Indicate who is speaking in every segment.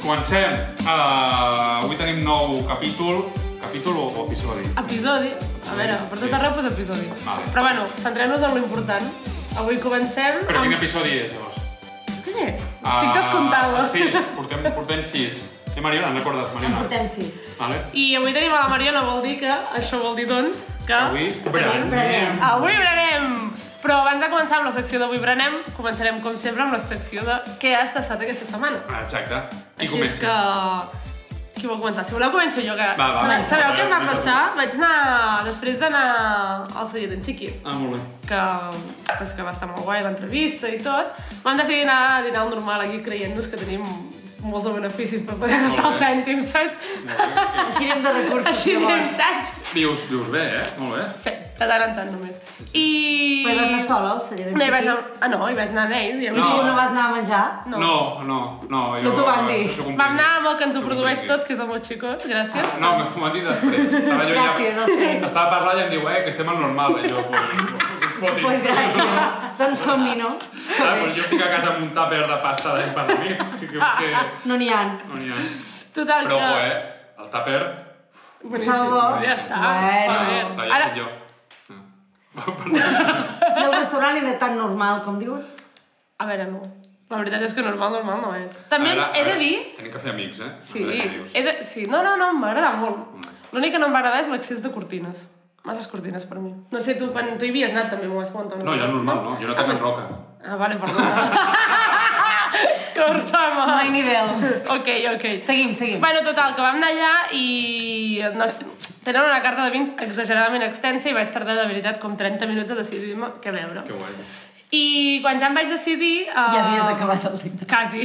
Speaker 1: Comencem. Uh, avui tenim nou capítol. Capítol o, o episodi?
Speaker 2: Episodi. A veure, per tot
Speaker 1: sí.
Speaker 2: arreu posa episodi.
Speaker 1: Vale.
Speaker 2: Però bueno, centrem-nos en lo important. Avui comencem
Speaker 1: Però
Speaker 2: amb...
Speaker 1: quin episodi és, llavors?
Speaker 2: Què sé? Estic descomptant-lo.
Speaker 1: Ah, Sis. Portem, portem sis. Eh, Mariona, recorda't,
Speaker 3: En
Speaker 1: Mariona.
Speaker 3: portem sis.
Speaker 1: Vale.
Speaker 2: I avui tenim a la Mariona, vol dir que... Això vol dir, doncs, que...
Speaker 1: Avui
Speaker 2: tenim...
Speaker 1: prenem.
Speaker 2: Avui berenem! Però abans de començar amb la secció d'Avui berenem, començarem, com sempre, amb la secció de què has tastat aquesta setmana.
Speaker 1: Ah, Exacte. Qui
Speaker 2: Així és
Speaker 1: comença?
Speaker 2: que... Qui vol començar? Si voleu, començo jo, que...
Speaker 1: Va, va, va.
Speaker 2: Sabeu què em va
Speaker 1: Va, va,
Speaker 2: passar? Vaig anar... Després d'anar al celler d'en Xiqui,
Speaker 1: Ah, molt bé.
Speaker 2: que, pues, que va estar molt guai l'entrevista i tot, vam decidir anar a dinar al normal aquí creient-nos que tenim molts de beneficis per poder gastar els cèntims, saps?
Speaker 3: Així anem de recursos.
Speaker 2: Així anem,
Speaker 3: llavors.
Speaker 2: saps?
Speaker 1: Dius, dius bé, eh? Molt bé.
Speaker 2: Sí, de tant en tant només. I...
Speaker 3: Però hi vas anar sola, al celler d'en
Speaker 2: No, hi vaig
Speaker 3: Xiqui?
Speaker 2: anar... Ah, no, hi vaig anar amb ells. I
Speaker 3: I
Speaker 2: no.
Speaker 3: tu no vas anar a menjar?
Speaker 2: No.
Speaker 1: No, no, no. Jo,
Speaker 3: No t'ho van dir.
Speaker 1: això complica.
Speaker 2: Vam anar amb el que ens ho
Speaker 1: Això
Speaker 2: produeix
Speaker 1: complica.
Speaker 2: tot, que és el meu xicot, gràcies.
Speaker 1: No, m'ho han dit després. Estava jo
Speaker 3: Gràcies,
Speaker 1: ja...
Speaker 3: els tens.
Speaker 1: Estava parlant i em diu, eh, que estem al normal, eh? Jo, pues, us fotis.
Speaker 3: Pues gràcies. doncs som-hi, no?
Speaker 2: Ah,
Speaker 1: Clar, però jo estic a casa amb un tàper de pasta de per mi. Que, que, que,
Speaker 3: No n'hi ha.
Speaker 1: no n'hi ha.
Speaker 2: Total,
Speaker 1: Però, ojo,
Speaker 2: que...
Speaker 1: eh? El tàper...
Speaker 3: Estava bo.
Speaker 2: Doncs ja està.
Speaker 3: Bueno.
Speaker 2: A
Speaker 1: No,
Speaker 2: veure.
Speaker 1: l'havia
Speaker 2: eh, Ara-
Speaker 1: eh, fet jo. No.
Speaker 3: Del restaurant era tan normal, com diuen.
Speaker 2: A veure, no. La veritat és que normal, normal no és. També
Speaker 1: Ara-
Speaker 2: he de
Speaker 1: ara
Speaker 2: dir
Speaker 1: Tenim que fer amics, eh?
Speaker 2: Sí,
Speaker 1: Ara que dius.
Speaker 2: he de... sí, no, no, no, m'agrada molt. L'únic que no em va agradar és l'excés de cortines. Masses cortines per mi. No sé, tu quan tu hi havies anat també m'ho vas comentar.
Speaker 1: No, jo normal, no. Jo no toco en roca.
Speaker 2: Ah, vale, perdona. Escolta'm.
Speaker 3: No hi ha nivell.
Speaker 2: Ok, ok.
Speaker 3: Seguim, seguim.
Speaker 2: Bueno, total, que vam anar allà i no sé, tenen una carta de vins exageradament extensa i vaig tardar de veritat com 30 minuts a decidir-me què veure.
Speaker 1: Que guai.
Speaker 2: I quan ja em vaig decidir... Uh...
Speaker 3: Ja havies acabat el dinar.
Speaker 2: Quasi.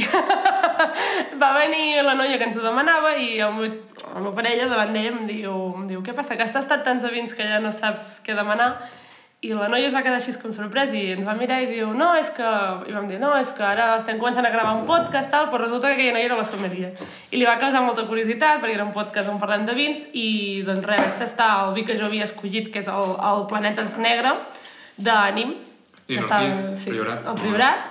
Speaker 2: Va venir la noia que ens ho demanava i el meu, la meva parella davant d'ella em diu, em diu què passa, que has tastat tants de vins que ja no saps què demanar i la noia es va quedar així com sorprès i ens va mirar i diu, no, és que... I vam dir, no, és que ara estem començant a gravar un podcast, tal, però resulta que aquella noia era la sommelier. I li va causar molta curiositat, perquè era un podcast on parlem de vins, i doncs res, vaig tastar el vi que jo havia escollit, que és el, el Planetes Negre, d'Ànim.
Speaker 1: I
Speaker 2: que
Speaker 1: Ortiz, Priorat.
Speaker 2: El Priorat.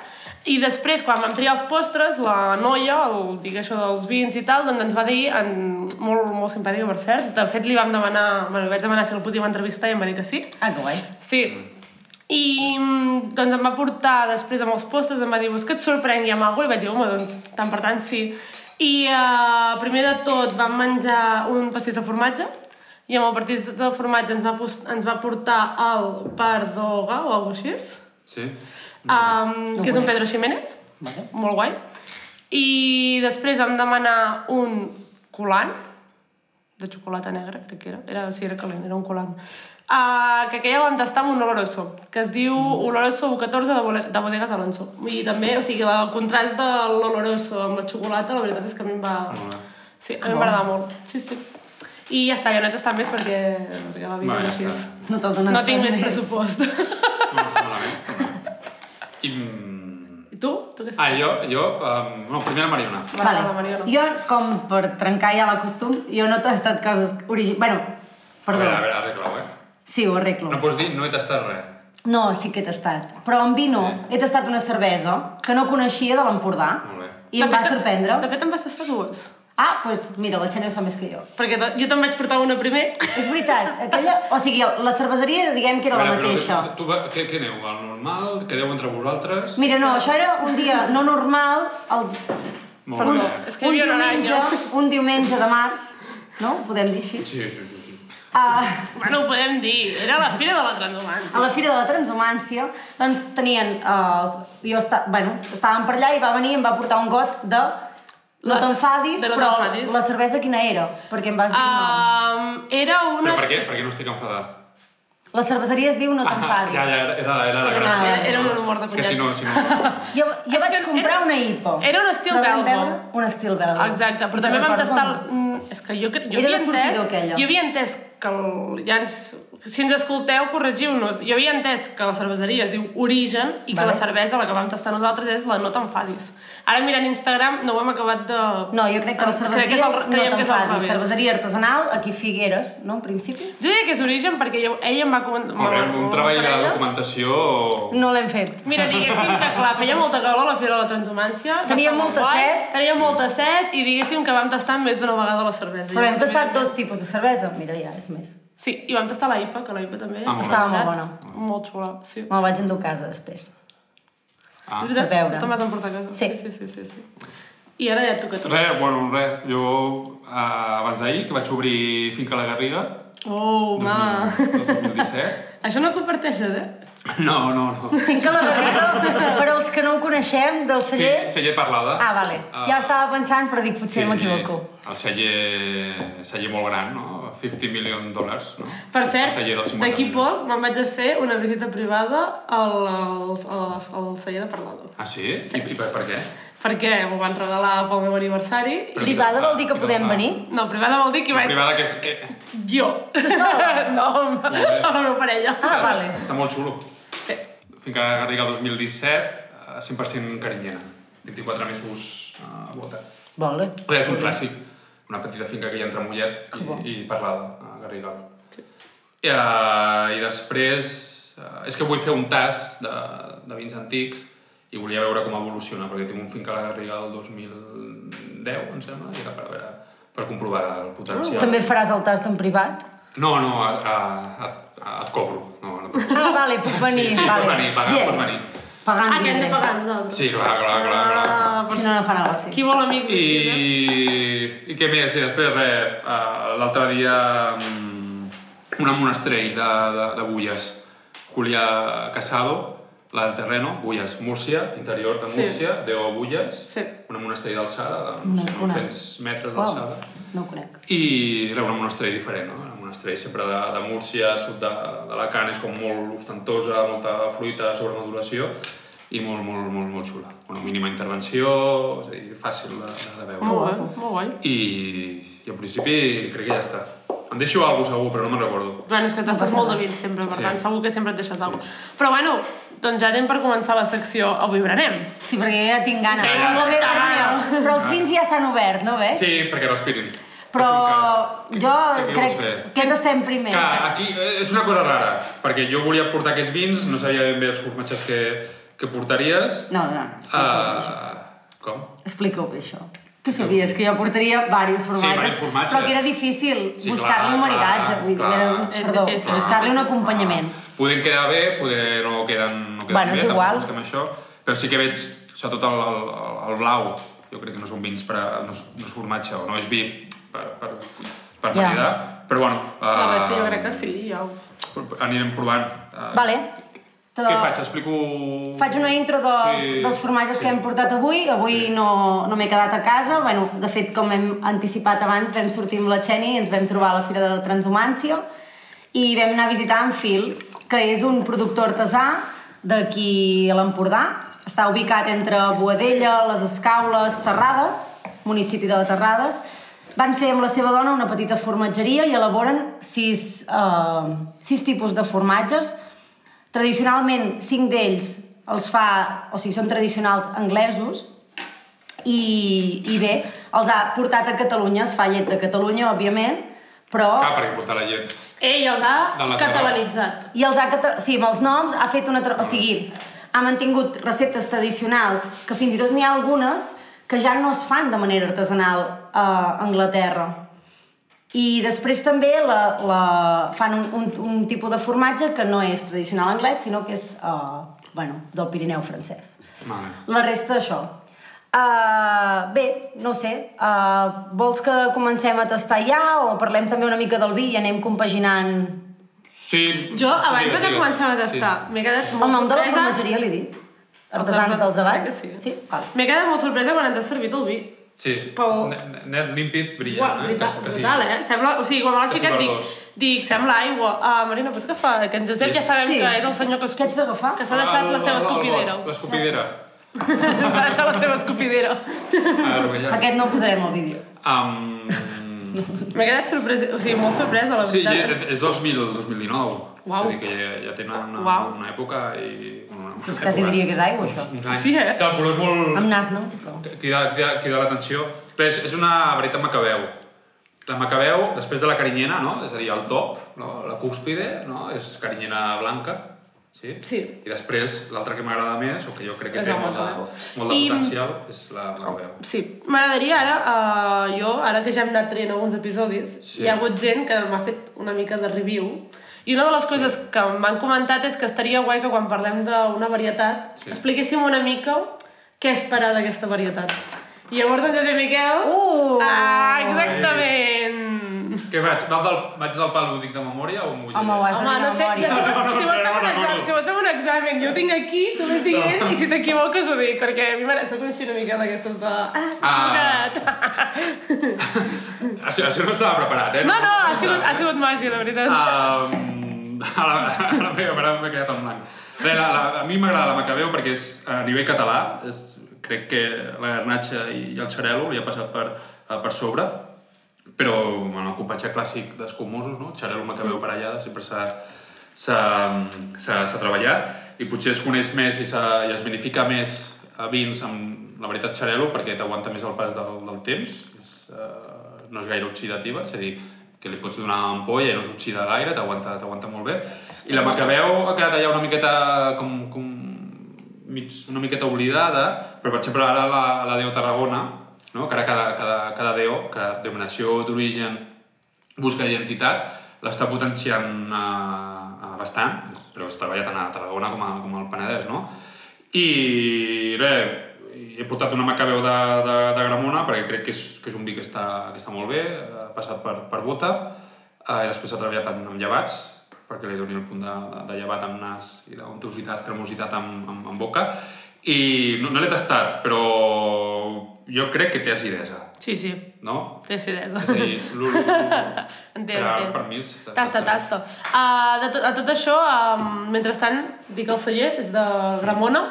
Speaker 2: I després, quan vam triar els postres, la noia, el, digue això dels vins i tal, doncs ens va dir, en, molt, molt simpàtica per cert, de fet li vam demanar, bueno, li vaig demanar si el podíem entrevistar i em va dir que sí.
Speaker 3: Ah, que guai.
Speaker 2: Sí. I mm, doncs em va portar després amb els postres, em va dir, vols que et sorprengui amb alguna cosa? I vaig dir, home, doncs tant per tant sí. I eh, primer de tot vam menjar un pastís de formatge, i amb el pastís de formatge ens va, pos- ens va portar el pardoga o alguna cosa així,
Speaker 1: Sí.
Speaker 2: um, que és un Pedro Ximénez,
Speaker 3: Vale.
Speaker 2: molt guai. I després vam demanar un colant, de xocolata negra, crec que era. era sí, era calent, era un colant. Uh, que aquella ho vam tastar amb un oloroso, que es diu
Speaker 1: Mm.
Speaker 2: oloroso U14 de, Bole- de Bodegas Alonso. I també, o sigui, el contrast de l'oloroso amb la xocolata, la veritat és que a mi em va...
Speaker 1: Mm.
Speaker 2: Sí, a mi em va agradar molt. Sí, sí. I ja està, jo no he tastat més perquè, perquè la vida
Speaker 1: Va, ja
Speaker 2: no així és.
Speaker 1: està.
Speaker 3: No t'ha donat
Speaker 2: No tinc
Speaker 3: res
Speaker 2: més pressupost.
Speaker 1: No, està malament, està malament. I... mm,
Speaker 2: I tu? Tu què estàs?
Speaker 1: Ah, jo... jo um, no, primer la Mariona.
Speaker 2: Vale.
Speaker 3: Vale.
Speaker 2: Mariona.
Speaker 3: Jo, com per trencar ja la costum, jo no t'he tastat coses origi... Bueno,
Speaker 1: A veure, a
Speaker 3: perdó.
Speaker 1: veure, arregla-ho, eh?
Speaker 3: Sí, ho arreglo.
Speaker 1: No pots dir no he tastat res.
Speaker 3: No, sí que he tastat. Però amb vi no. He tastat una cervesa que no coneixia de l'Empordà.
Speaker 1: Molt bé.
Speaker 3: I em
Speaker 2: De
Speaker 3: va
Speaker 2: fet,
Speaker 3: sorprendre.
Speaker 2: De fet, em vas tastar dues.
Speaker 3: Ah, doncs mira, la Xenia ho sap més que jo.
Speaker 2: Perquè to- jo te'n vaig portar una primer.
Speaker 3: És veritat, aquella... O sigui, la cerveseria diguem que
Speaker 1: A
Speaker 3: era la
Speaker 1: veure, però
Speaker 3: mateixa.
Speaker 1: Tu, tu, va- què, què aneu? Al normal? Quedeu entre vosaltres?
Speaker 3: Mira, no, això era un dia no normal, el...
Speaker 1: Molt
Speaker 2: Perdó,
Speaker 1: bé.
Speaker 2: és que hi
Speaker 3: un,
Speaker 2: havia un
Speaker 3: diumenge,
Speaker 2: aranya.
Speaker 3: un diumenge de març, no? Ho podem dir així?
Speaker 1: Sí, sí, sí. sí.
Speaker 3: Ah,
Speaker 2: Bueno, ho podem dir. Era la fira de la transhumància.
Speaker 3: a la Fira de la Transhumància, doncs tenien... Uh, jo esta... bueno, estàvem per allà i va venir i em va portar un got de... No
Speaker 2: La-
Speaker 3: t'enfadis,
Speaker 2: de no
Speaker 3: però
Speaker 2: t'enfadis.
Speaker 3: la cervesa quina era? Perquè em Ah, vas dir un nom.
Speaker 2: Um, era una...
Speaker 1: Però per què? Per què no estic enfadat?
Speaker 3: La cerveseria es diu No t'enfadis.
Speaker 1: Ah, Ja, ja, era, era, era la
Speaker 2: Era una-
Speaker 1: gràcia.
Speaker 2: era un humor de
Speaker 1: És que si no,
Speaker 2: collet.
Speaker 1: si no...
Speaker 3: Jo, jo
Speaker 2: És
Speaker 3: vaig
Speaker 2: que
Speaker 3: comprar
Speaker 2: era-
Speaker 3: una hipo.
Speaker 2: era un estil
Speaker 3: Però vam
Speaker 2: belga.
Speaker 3: veure Un estil belga.
Speaker 2: Exacte, però també vam
Speaker 3: Recordo
Speaker 2: tastar... El...
Speaker 3: com-
Speaker 2: Mm, És que jo, cre- jo
Speaker 3: Era
Speaker 2: havia
Speaker 3: de sortidor,
Speaker 2: entès...
Speaker 3: aquella.
Speaker 2: Jo havia entès que el, ja ens... Si ens escolteu, corregiu-nos. Jo havia entès que la cerveseria es diu Origen i que la
Speaker 3: Vale.
Speaker 2: cervesa, la que vam tastar nosaltres, és la No t'enfadis. Ara mirant Instagram no ho hem acabat de...
Speaker 3: No, jo crec que la cerveseria
Speaker 2: Ah, que és el,
Speaker 3: no
Speaker 2: creiem que és al
Speaker 3: t'enfadis.
Speaker 2: revés.
Speaker 3: Cerveseria artesanal, aquí Figueres, no, en principi?
Speaker 2: Jo diria que és Origen perquè jo, ell em va comentar...
Speaker 1: Molt bé, un treball de documentació...
Speaker 3: No l'hem fet.
Speaker 2: Mira, diguéssim que, clar, feia molta calor a la Fira de la Transhumància. va
Speaker 3: Tenia
Speaker 2: estar molt
Speaker 3: molta
Speaker 2: guai,
Speaker 3: set.
Speaker 2: Tenia molta set i diguéssim que vam tastar més d'una vegada la cervesa.
Speaker 3: Però hem
Speaker 2: Llavors,
Speaker 3: tastat
Speaker 2: mira,
Speaker 3: dos tipus de cervesa. Mira, ja, és més.
Speaker 2: Sí, i vam tastar la IPA, que la IPA també...
Speaker 1: Ah, molt bé.
Speaker 3: Estava molt bona.
Speaker 2: Molt xula, sí.
Speaker 3: Me la vaig endur a casa després.
Speaker 1: Ah.
Speaker 2: És veritat,
Speaker 3: A veure.
Speaker 2: Te m'has d'emportar a casa.
Speaker 3: Sí.
Speaker 2: Sí, sí, sí, sí. I ara ja et toca a tu.
Speaker 1: Res, bueno, res. Jo eh, abans d'ahir, que vaig obrir Finca la Garriga,
Speaker 2: Oh, ma.
Speaker 1: 2017.
Speaker 2: Això no ho comparteixes, eh?
Speaker 1: No, no, no.
Speaker 3: Finca la Garriga, per als que no ho coneixem, del
Speaker 1: Sí,
Speaker 3: celler...
Speaker 1: celler parlada.
Speaker 3: Ah, vale. Ja ho estava pensant, però dic, potser m'equivoco.
Speaker 1: El celler, celler molt gran, no? 50 milions de dòlars, no?
Speaker 2: Per
Speaker 1: El
Speaker 2: cert,
Speaker 1: celler dels 50
Speaker 2: d'aquí
Speaker 1: milions.
Speaker 2: poc me'n vaig a fer una visita privada al, al, al, al celler de Parlado.
Speaker 1: Ah, sí? sí. I, i per, per què?
Speaker 2: Perquè m'ho van regalar pel meu aniversari. i-
Speaker 1: Però-
Speaker 3: Privada vol dir que
Speaker 1: Ah,
Speaker 3: podem
Speaker 1: ah.
Speaker 3: venir?
Speaker 2: No, privada vol dir que hi vaig
Speaker 1: Privada que és... Que...
Speaker 2: jo. Tu sola? no, amb,
Speaker 1: bé.
Speaker 2: amb la meva parella.
Speaker 3: Ah, vale.
Speaker 1: Està molt xulo.
Speaker 2: Sí.
Speaker 1: Finca Garriga 2017, eh, 100% carinyena. 24 mesos eh, a volta.
Speaker 3: Vale.
Speaker 1: Res, és un clàssic. Una petita finca que hi ha entre Mollet i, i Parlada, a Garriga.
Speaker 2: Sí.
Speaker 1: I, uh, i després... Uh, és que vull fer un tas de, de vins antics i volia veure com evoluciona, perquè tinc un finca a la Garriga del 2010, em sembla, i era per, veure, per comprovar el potencial.
Speaker 3: També faràs el tast en privat?
Speaker 1: No, no, a, a, a, a, et cobro. No, no puc.
Speaker 3: Ah, vale, puc venir.
Speaker 1: Sí, sí,
Speaker 3: vale.
Speaker 1: pots venir, pagar,
Speaker 3: Bien.
Speaker 1: pots venir.
Speaker 2: Ah, que
Speaker 3: Pagant
Speaker 2: hem de
Speaker 3: vindré.
Speaker 2: pagar nosaltres.
Speaker 1: Sí, clar, clar, clar. clar.
Speaker 2: Ah, però
Speaker 3: Si no, no fa negoci.
Speaker 2: qui vol amics
Speaker 1: I,
Speaker 2: així, eh?
Speaker 1: I què més? I després, res, eh, l'altre dia mm, una monestrell de, de, de Bulles, Julià Casado, la del terreno, Bulles, Múrcia, interior de
Speaker 2: Sí.
Speaker 1: Múrcia, sí. Déu a Bulles,
Speaker 2: Sí.
Speaker 1: una monestrell d'alçada, de
Speaker 3: No
Speaker 1: no sé,
Speaker 3: conec.
Speaker 1: 900 metres
Speaker 3: Uau,
Speaker 1: d'alçada.
Speaker 3: no ho conec.
Speaker 1: I era una monestrell diferent, no? Una monestrell sempre de, de Múrcia, sud de, de Lacan, és com molt ostentosa, molta fruita, sobremaduració, i molt, molt, molt, molt xula. Una mínima intervenció, és a dir, fàcil de, de, de veure.
Speaker 2: Molt guai, molt guai.
Speaker 1: I, I al principi crec que ja està. Em deixo alguna cosa segur, però no me'n recordo.
Speaker 2: Bueno, és que t'has
Speaker 3: No passa
Speaker 2: molt de
Speaker 3: res.
Speaker 2: vint sempre, per
Speaker 1: Sí.
Speaker 2: tant, segur que sempre et deixes alguna cosa. Però bueno, doncs ja anem per començar la secció Avui berenem.
Speaker 3: Sí, perquè jo ja tinc gana.
Speaker 2: Té
Speaker 3: Però, també,
Speaker 2: molta
Speaker 3: perdoneu,
Speaker 2: gana.
Speaker 3: però els vins ja s'han obert, no veig?
Speaker 1: Ah. Sí, perquè respirin. Per
Speaker 3: Però
Speaker 1: si un cas. Què-
Speaker 3: jo
Speaker 1: què- què
Speaker 3: crec
Speaker 1: vols fer?
Speaker 3: que ens estem primers.
Speaker 1: Que aquí eh, és una cosa rara, perquè jo volia portar aquests vins, no sabia ben bé els formatges que, que portaries.
Speaker 3: No, no, no.
Speaker 1: Uh, com?
Speaker 3: Explica-ho bé, això. Tu sabies que jo portaria diversos formatges,
Speaker 1: diversos formatges.
Speaker 3: però que era difícil
Speaker 1: Sí,
Speaker 3: buscar-li
Speaker 1: clar,
Speaker 3: un maridatge,
Speaker 1: clar,
Speaker 3: vull dir,
Speaker 1: clar.
Speaker 3: era, un-
Speaker 2: És
Speaker 3: perdó,
Speaker 2: difícil.
Speaker 3: buscar-li un acompanyament.
Speaker 1: Podem quedar bé, poder no queden, no queden
Speaker 3: Bueno,
Speaker 1: bé,
Speaker 3: és
Speaker 1: tampoc
Speaker 3: igual.
Speaker 1: busquem això. Però sí que veig, sobretot el, el, el blau, jo crec que no són vins per a, no, és, no és formatge o no és vi per, per, per
Speaker 3: Ja.
Speaker 1: maridar. Però bueno... Uh,
Speaker 2: La resta jo crec que sí, ja ho...
Speaker 1: Anirem provant. Uh,
Speaker 3: Vale.
Speaker 1: Què faig? Explico...
Speaker 3: Faig una intro dels,
Speaker 1: Sí,
Speaker 3: dels formatges
Speaker 1: sí.
Speaker 3: que hem portat avui. Avui
Speaker 1: Sí.
Speaker 3: no, no m'he quedat a casa. Bueno, de fet, com hem anticipat abans, vam sortir amb la Xeni i ens vam trobar a la Fira de la Transhumància i vam anar a visitar en Phil, que és un productor artesà d'aquí a l'Empordà. Està ubicat entre Boadella, les Escaules, Terrades, municipi de la Terrades. Van fer amb la seva dona una petita formatgeria i elaboren sis, eh, sis tipus de formatges Tradicionalment, cinc d'ells els fa, o sigui, són tradicionals anglesos, i, i bé, els ha portat a Catalunya, es fa llet de Catalunya, òbviament, però...
Speaker 1: Clar, perquè portar Ah, la llet.
Speaker 2: Ell els
Speaker 1: De
Speaker 2: ha
Speaker 1: la
Speaker 2: catalanitzat.
Speaker 3: I els ha... cata- Sí, amb els noms ha fet una... tra- O sigui, ha mantingut receptes tradicionals, que fins i tot n'hi ha algunes que ja no es fan de manera artesanal a Anglaterra. I després també la, la, fan un, un, un tipus de formatge que no és tradicional anglès, sinó que és uh, bueno, del Pirineu francès.
Speaker 1: Vale.
Speaker 3: La resta, això. Uh, bé, no ho sé, uh, vols que comencem a tastar ja o parlem també una mica del vi i anem compaginant...
Speaker 1: Sí.
Speaker 2: Jo, abans de
Speaker 1: digues,
Speaker 2: que
Speaker 1: digues.
Speaker 2: comencem a tastar, m'he quedat molt
Speaker 3: El nom de la
Speaker 2: sorpresa-
Speaker 3: formatgeria l'he dit?
Speaker 2: Els
Speaker 3: Artesans dels
Speaker 2: crec
Speaker 3: abats?
Speaker 2: que Sí.
Speaker 3: sí? Vale.
Speaker 2: M'he quedat molt sorpresa quan ens ha servit el vi.
Speaker 1: Sí,
Speaker 2: Pel-
Speaker 1: Net- net límpid, brillant. eh?
Speaker 2: Uau, brutal,
Speaker 1: Que- que sí.
Speaker 2: brutal, eh? Sembla, o sigui, quan me l'has
Speaker 1: Que sí,
Speaker 2: picat dic,
Speaker 1: verdós.
Speaker 2: dic, sembla aigua. Ah, Marina, pots agafar? Que en Josep ja sabem
Speaker 3: Sí.
Speaker 2: que és el senyor que, escup-
Speaker 3: Què haig d'agafar?
Speaker 2: que s'ha deixat
Speaker 1: Ah,
Speaker 2: la seva
Speaker 1: el- el- el got,
Speaker 2: escopidera.
Speaker 1: L'escopidera.
Speaker 2: S'ha deixat la seva escopidera.
Speaker 1: Ah, Rovellà.
Speaker 3: Aquest no el posarem al vídeo.
Speaker 1: Um,
Speaker 2: M'he quedat sorpresa, o sigui, molt sorpresa, la
Speaker 1: Sí, ja,
Speaker 2: veritat.
Speaker 1: és 2000, 2019.
Speaker 2: Uau.
Speaker 1: És a dir, que ja, ja tenen una,
Speaker 2: Uau. Doncs
Speaker 1: una època i... Una, una
Speaker 3: És quasi diria que és aigua, això.
Speaker 1: Uns anys.
Speaker 2: Sí, eh?
Speaker 1: Que el color és molt...
Speaker 3: Amb nas, no? Però...
Speaker 1: crida, crida, crida l'atenció. Però és, és una varietat macabeu. La macabeu, després de la carinyena, no? És a dir, el top, no? la cúspide, no? És carinyena blanca. Sí?
Speaker 2: Sí.
Speaker 1: I després, l'altra que m'agrada més, o que jo crec que
Speaker 2: És
Speaker 1: té
Speaker 2: la
Speaker 1: molt de,
Speaker 2: macabeu.
Speaker 1: molt de
Speaker 2: I- Oh.
Speaker 1: potencial, és la macabeu.
Speaker 2: Sí, m'agradaria ara, uh, jo, ara que ja hem anat traient alguns episodis,
Speaker 1: Sí.
Speaker 2: sí. hi ha hagut gent que m'ha fet una mica de review, i una de les coses que m'han comentat és que estaria guai que quan parlem d'una varietat
Speaker 1: Sí.
Speaker 2: sí. expliquéssim una mica què esperar d'aquesta varietat. I llavors en Josep Miquel...
Speaker 3: Uh!
Speaker 2: Ah, exactament!
Speaker 1: Què vaig? Vaig del, vaig del pal lúdic de memòria o m'ho
Speaker 3: Home, ho has-
Speaker 2: Home, no sé,
Speaker 3: memòria.
Speaker 2: ja, si,
Speaker 1: No, no,
Speaker 2: vols,
Speaker 1: no,
Speaker 2: si vols fer
Speaker 1: no,
Speaker 2: un
Speaker 1: no,
Speaker 2: examen,
Speaker 1: no.
Speaker 2: si vols fer un examen, jo ho tinc aquí, tu vas dient, i si t'equivoques ho dic, perquè a mi m'agrada, soc així una mica d'aquestes de... Ah,
Speaker 1: Ah.
Speaker 2: m'he equivocat.
Speaker 1: Això, això no estava preparat, eh?
Speaker 2: No, no, ha sigut, ha sigut màgia, de veritat. Ah.
Speaker 1: Um, ara, ara m'he ara m'he quedat en blanc. Bé, la, la, a mi m'agrada la Macabeu perquè és a nivell català, és, crec que la garnatxa i, i el xarel·lo li ha passat per, eh, per sobre, però bueno, el compatge clàssic d'escomosos, no? xarel·lo Macabeu per allà, sempre s'ha s'ha s'ha- s'ha treballat i potser es coneix més i, s'ha- i es vinifica més a vins amb la veritat xarel·lo perquè t'aguanta més el pas del, del temps és, eh, no és gaire oxidativa és a dir, que li pots donar ampolla i no s'oxida gaire, t'aguanta t'aguanta molt bé i la Macabeu ha quedat allà una miqueta com, com mig, una miqueta oblidada però per exemple ara la, la Déu Tarragona no? que ara cada, cada, cada Déu cada denominació d'origen busca identitat, l'està potenciant eh, eh, bastant, però es treballa tant a Tarragona com, a, com al Penedès, no? I res, he portat una macabeu de, de, de Gramona perquè crec que és, que és un vi que està, que està molt bé, ha passat per, per bota, eh, i després s'ha treballat amb, amb llevats, perquè li doni el punt de, de, de llevat amb nas i d'untuositat, cremositat amb, amb, amb boca, i no, no l'he tastat, però jo crec que té acidesa,
Speaker 2: Sí, sí,
Speaker 1: no?
Speaker 2: té acidesa.
Speaker 1: Ah. És a dir, l'olor-
Speaker 2: Entenc,
Speaker 1: Per-
Speaker 2: entenc.
Speaker 1: permís.
Speaker 2: Tasta, tasta. Uh, de to a tot això, um, mentrestant, dic el celler, és de Gramona.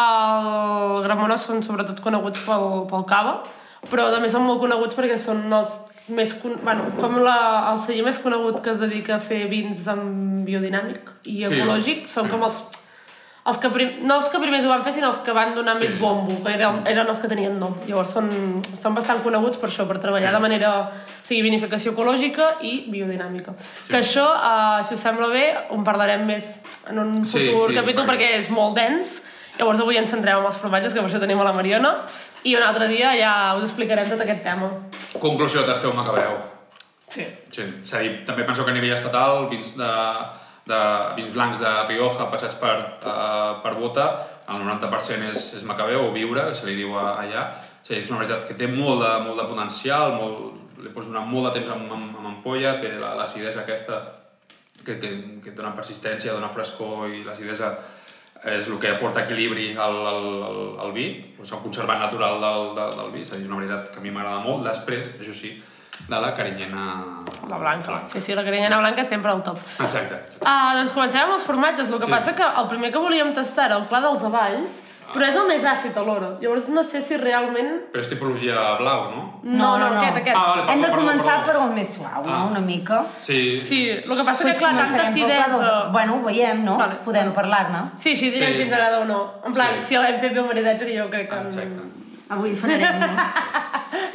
Speaker 2: El Gramona són sobretot coneguts pel, pel cava, però també són molt coneguts perquè són els més... Con bueno, com la, el celler més conegut que es dedica a fer vins amb biodinàmic i
Speaker 1: Sí.
Speaker 2: ecològic, són
Speaker 1: Sí.
Speaker 2: com els els que prim... no els que primers ho van fer, sinó els que van donar
Speaker 1: Sí.
Speaker 2: sí. més bombo, que eren, eren els que tenien nom. Llavors són, són bastant coneguts per això, per treballar de manera... O sigui, vinificació ecològica i biodinàmica.
Speaker 1: Sí.
Speaker 2: Sí. Que això, eh, si us sembla bé, en parlarem més en un
Speaker 1: Sí,
Speaker 2: futur
Speaker 1: sí,
Speaker 2: capítol,
Speaker 1: perquè-
Speaker 2: perquè és molt dens. Llavors avui ens centrem en els formatges, que per això tenim a la Mariona, i un altre dia ja us explicarem tot aquest tema.
Speaker 1: Conclusió, tasteu Macabeu.
Speaker 2: Sí.
Speaker 1: Sí. És a dir, també penseu que a nivell estatal, vins, de, de, vins blancs de Rioja passats per, uh, per bota, el 90% és, és Macabeu o Viure, que se li diu a, allà. És a dir, és una veritat que té molt de, molt de potencial, molt, li pots donar molt de temps amb, amb, amb ampolla, té la- l'acidesa aquesta que, que, que et dona persistència, dona frescor i l'acidesa és el que aporta equilibri al, al, al, al vi, és el conservant natural del, del, del vi, és a dir, és una veritat que a mi m'agrada molt, després, això sí, de la carinyena...
Speaker 2: La blanca. Sí, sí, la carinyena blanca sempre al top.
Speaker 1: Exacte.
Speaker 2: Ah, doncs comencem amb els formatges. El
Speaker 1: Sí.
Speaker 2: que sí. passa que el primer que volíem tastar era el pla dels avalls, però és el més àcid alhora. Llavors no sé si realment...
Speaker 1: Però és tipologia blau, no?
Speaker 3: No, no, no.
Speaker 2: Aquest, aquest.
Speaker 1: Ah, vale.
Speaker 3: Hem
Speaker 1: Perdó,
Speaker 3: de
Speaker 1: perdó,
Speaker 3: començar
Speaker 1: perdó.
Speaker 3: per un més suau, no?
Speaker 1: Ah.
Speaker 3: Una mica.
Speaker 1: Sí.
Speaker 2: Sí, el que passa que,
Speaker 3: Doncs
Speaker 2: clar, tanta
Speaker 3: començarem pel pla dels-
Speaker 2: acidesa...
Speaker 3: Bueno, ho veiem, no?
Speaker 2: Vale.
Speaker 3: Podem parlar-ne.
Speaker 2: Sí, així direm
Speaker 1: Sí.
Speaker 2: si ens agrada o no. En plan,
Speaker 1: Sí.
Speaker 2: si l'hem fet bé un maridatge, que jo crec que...
Speaker 1: Ah, Exacte.
Speaker 3: Avui farem...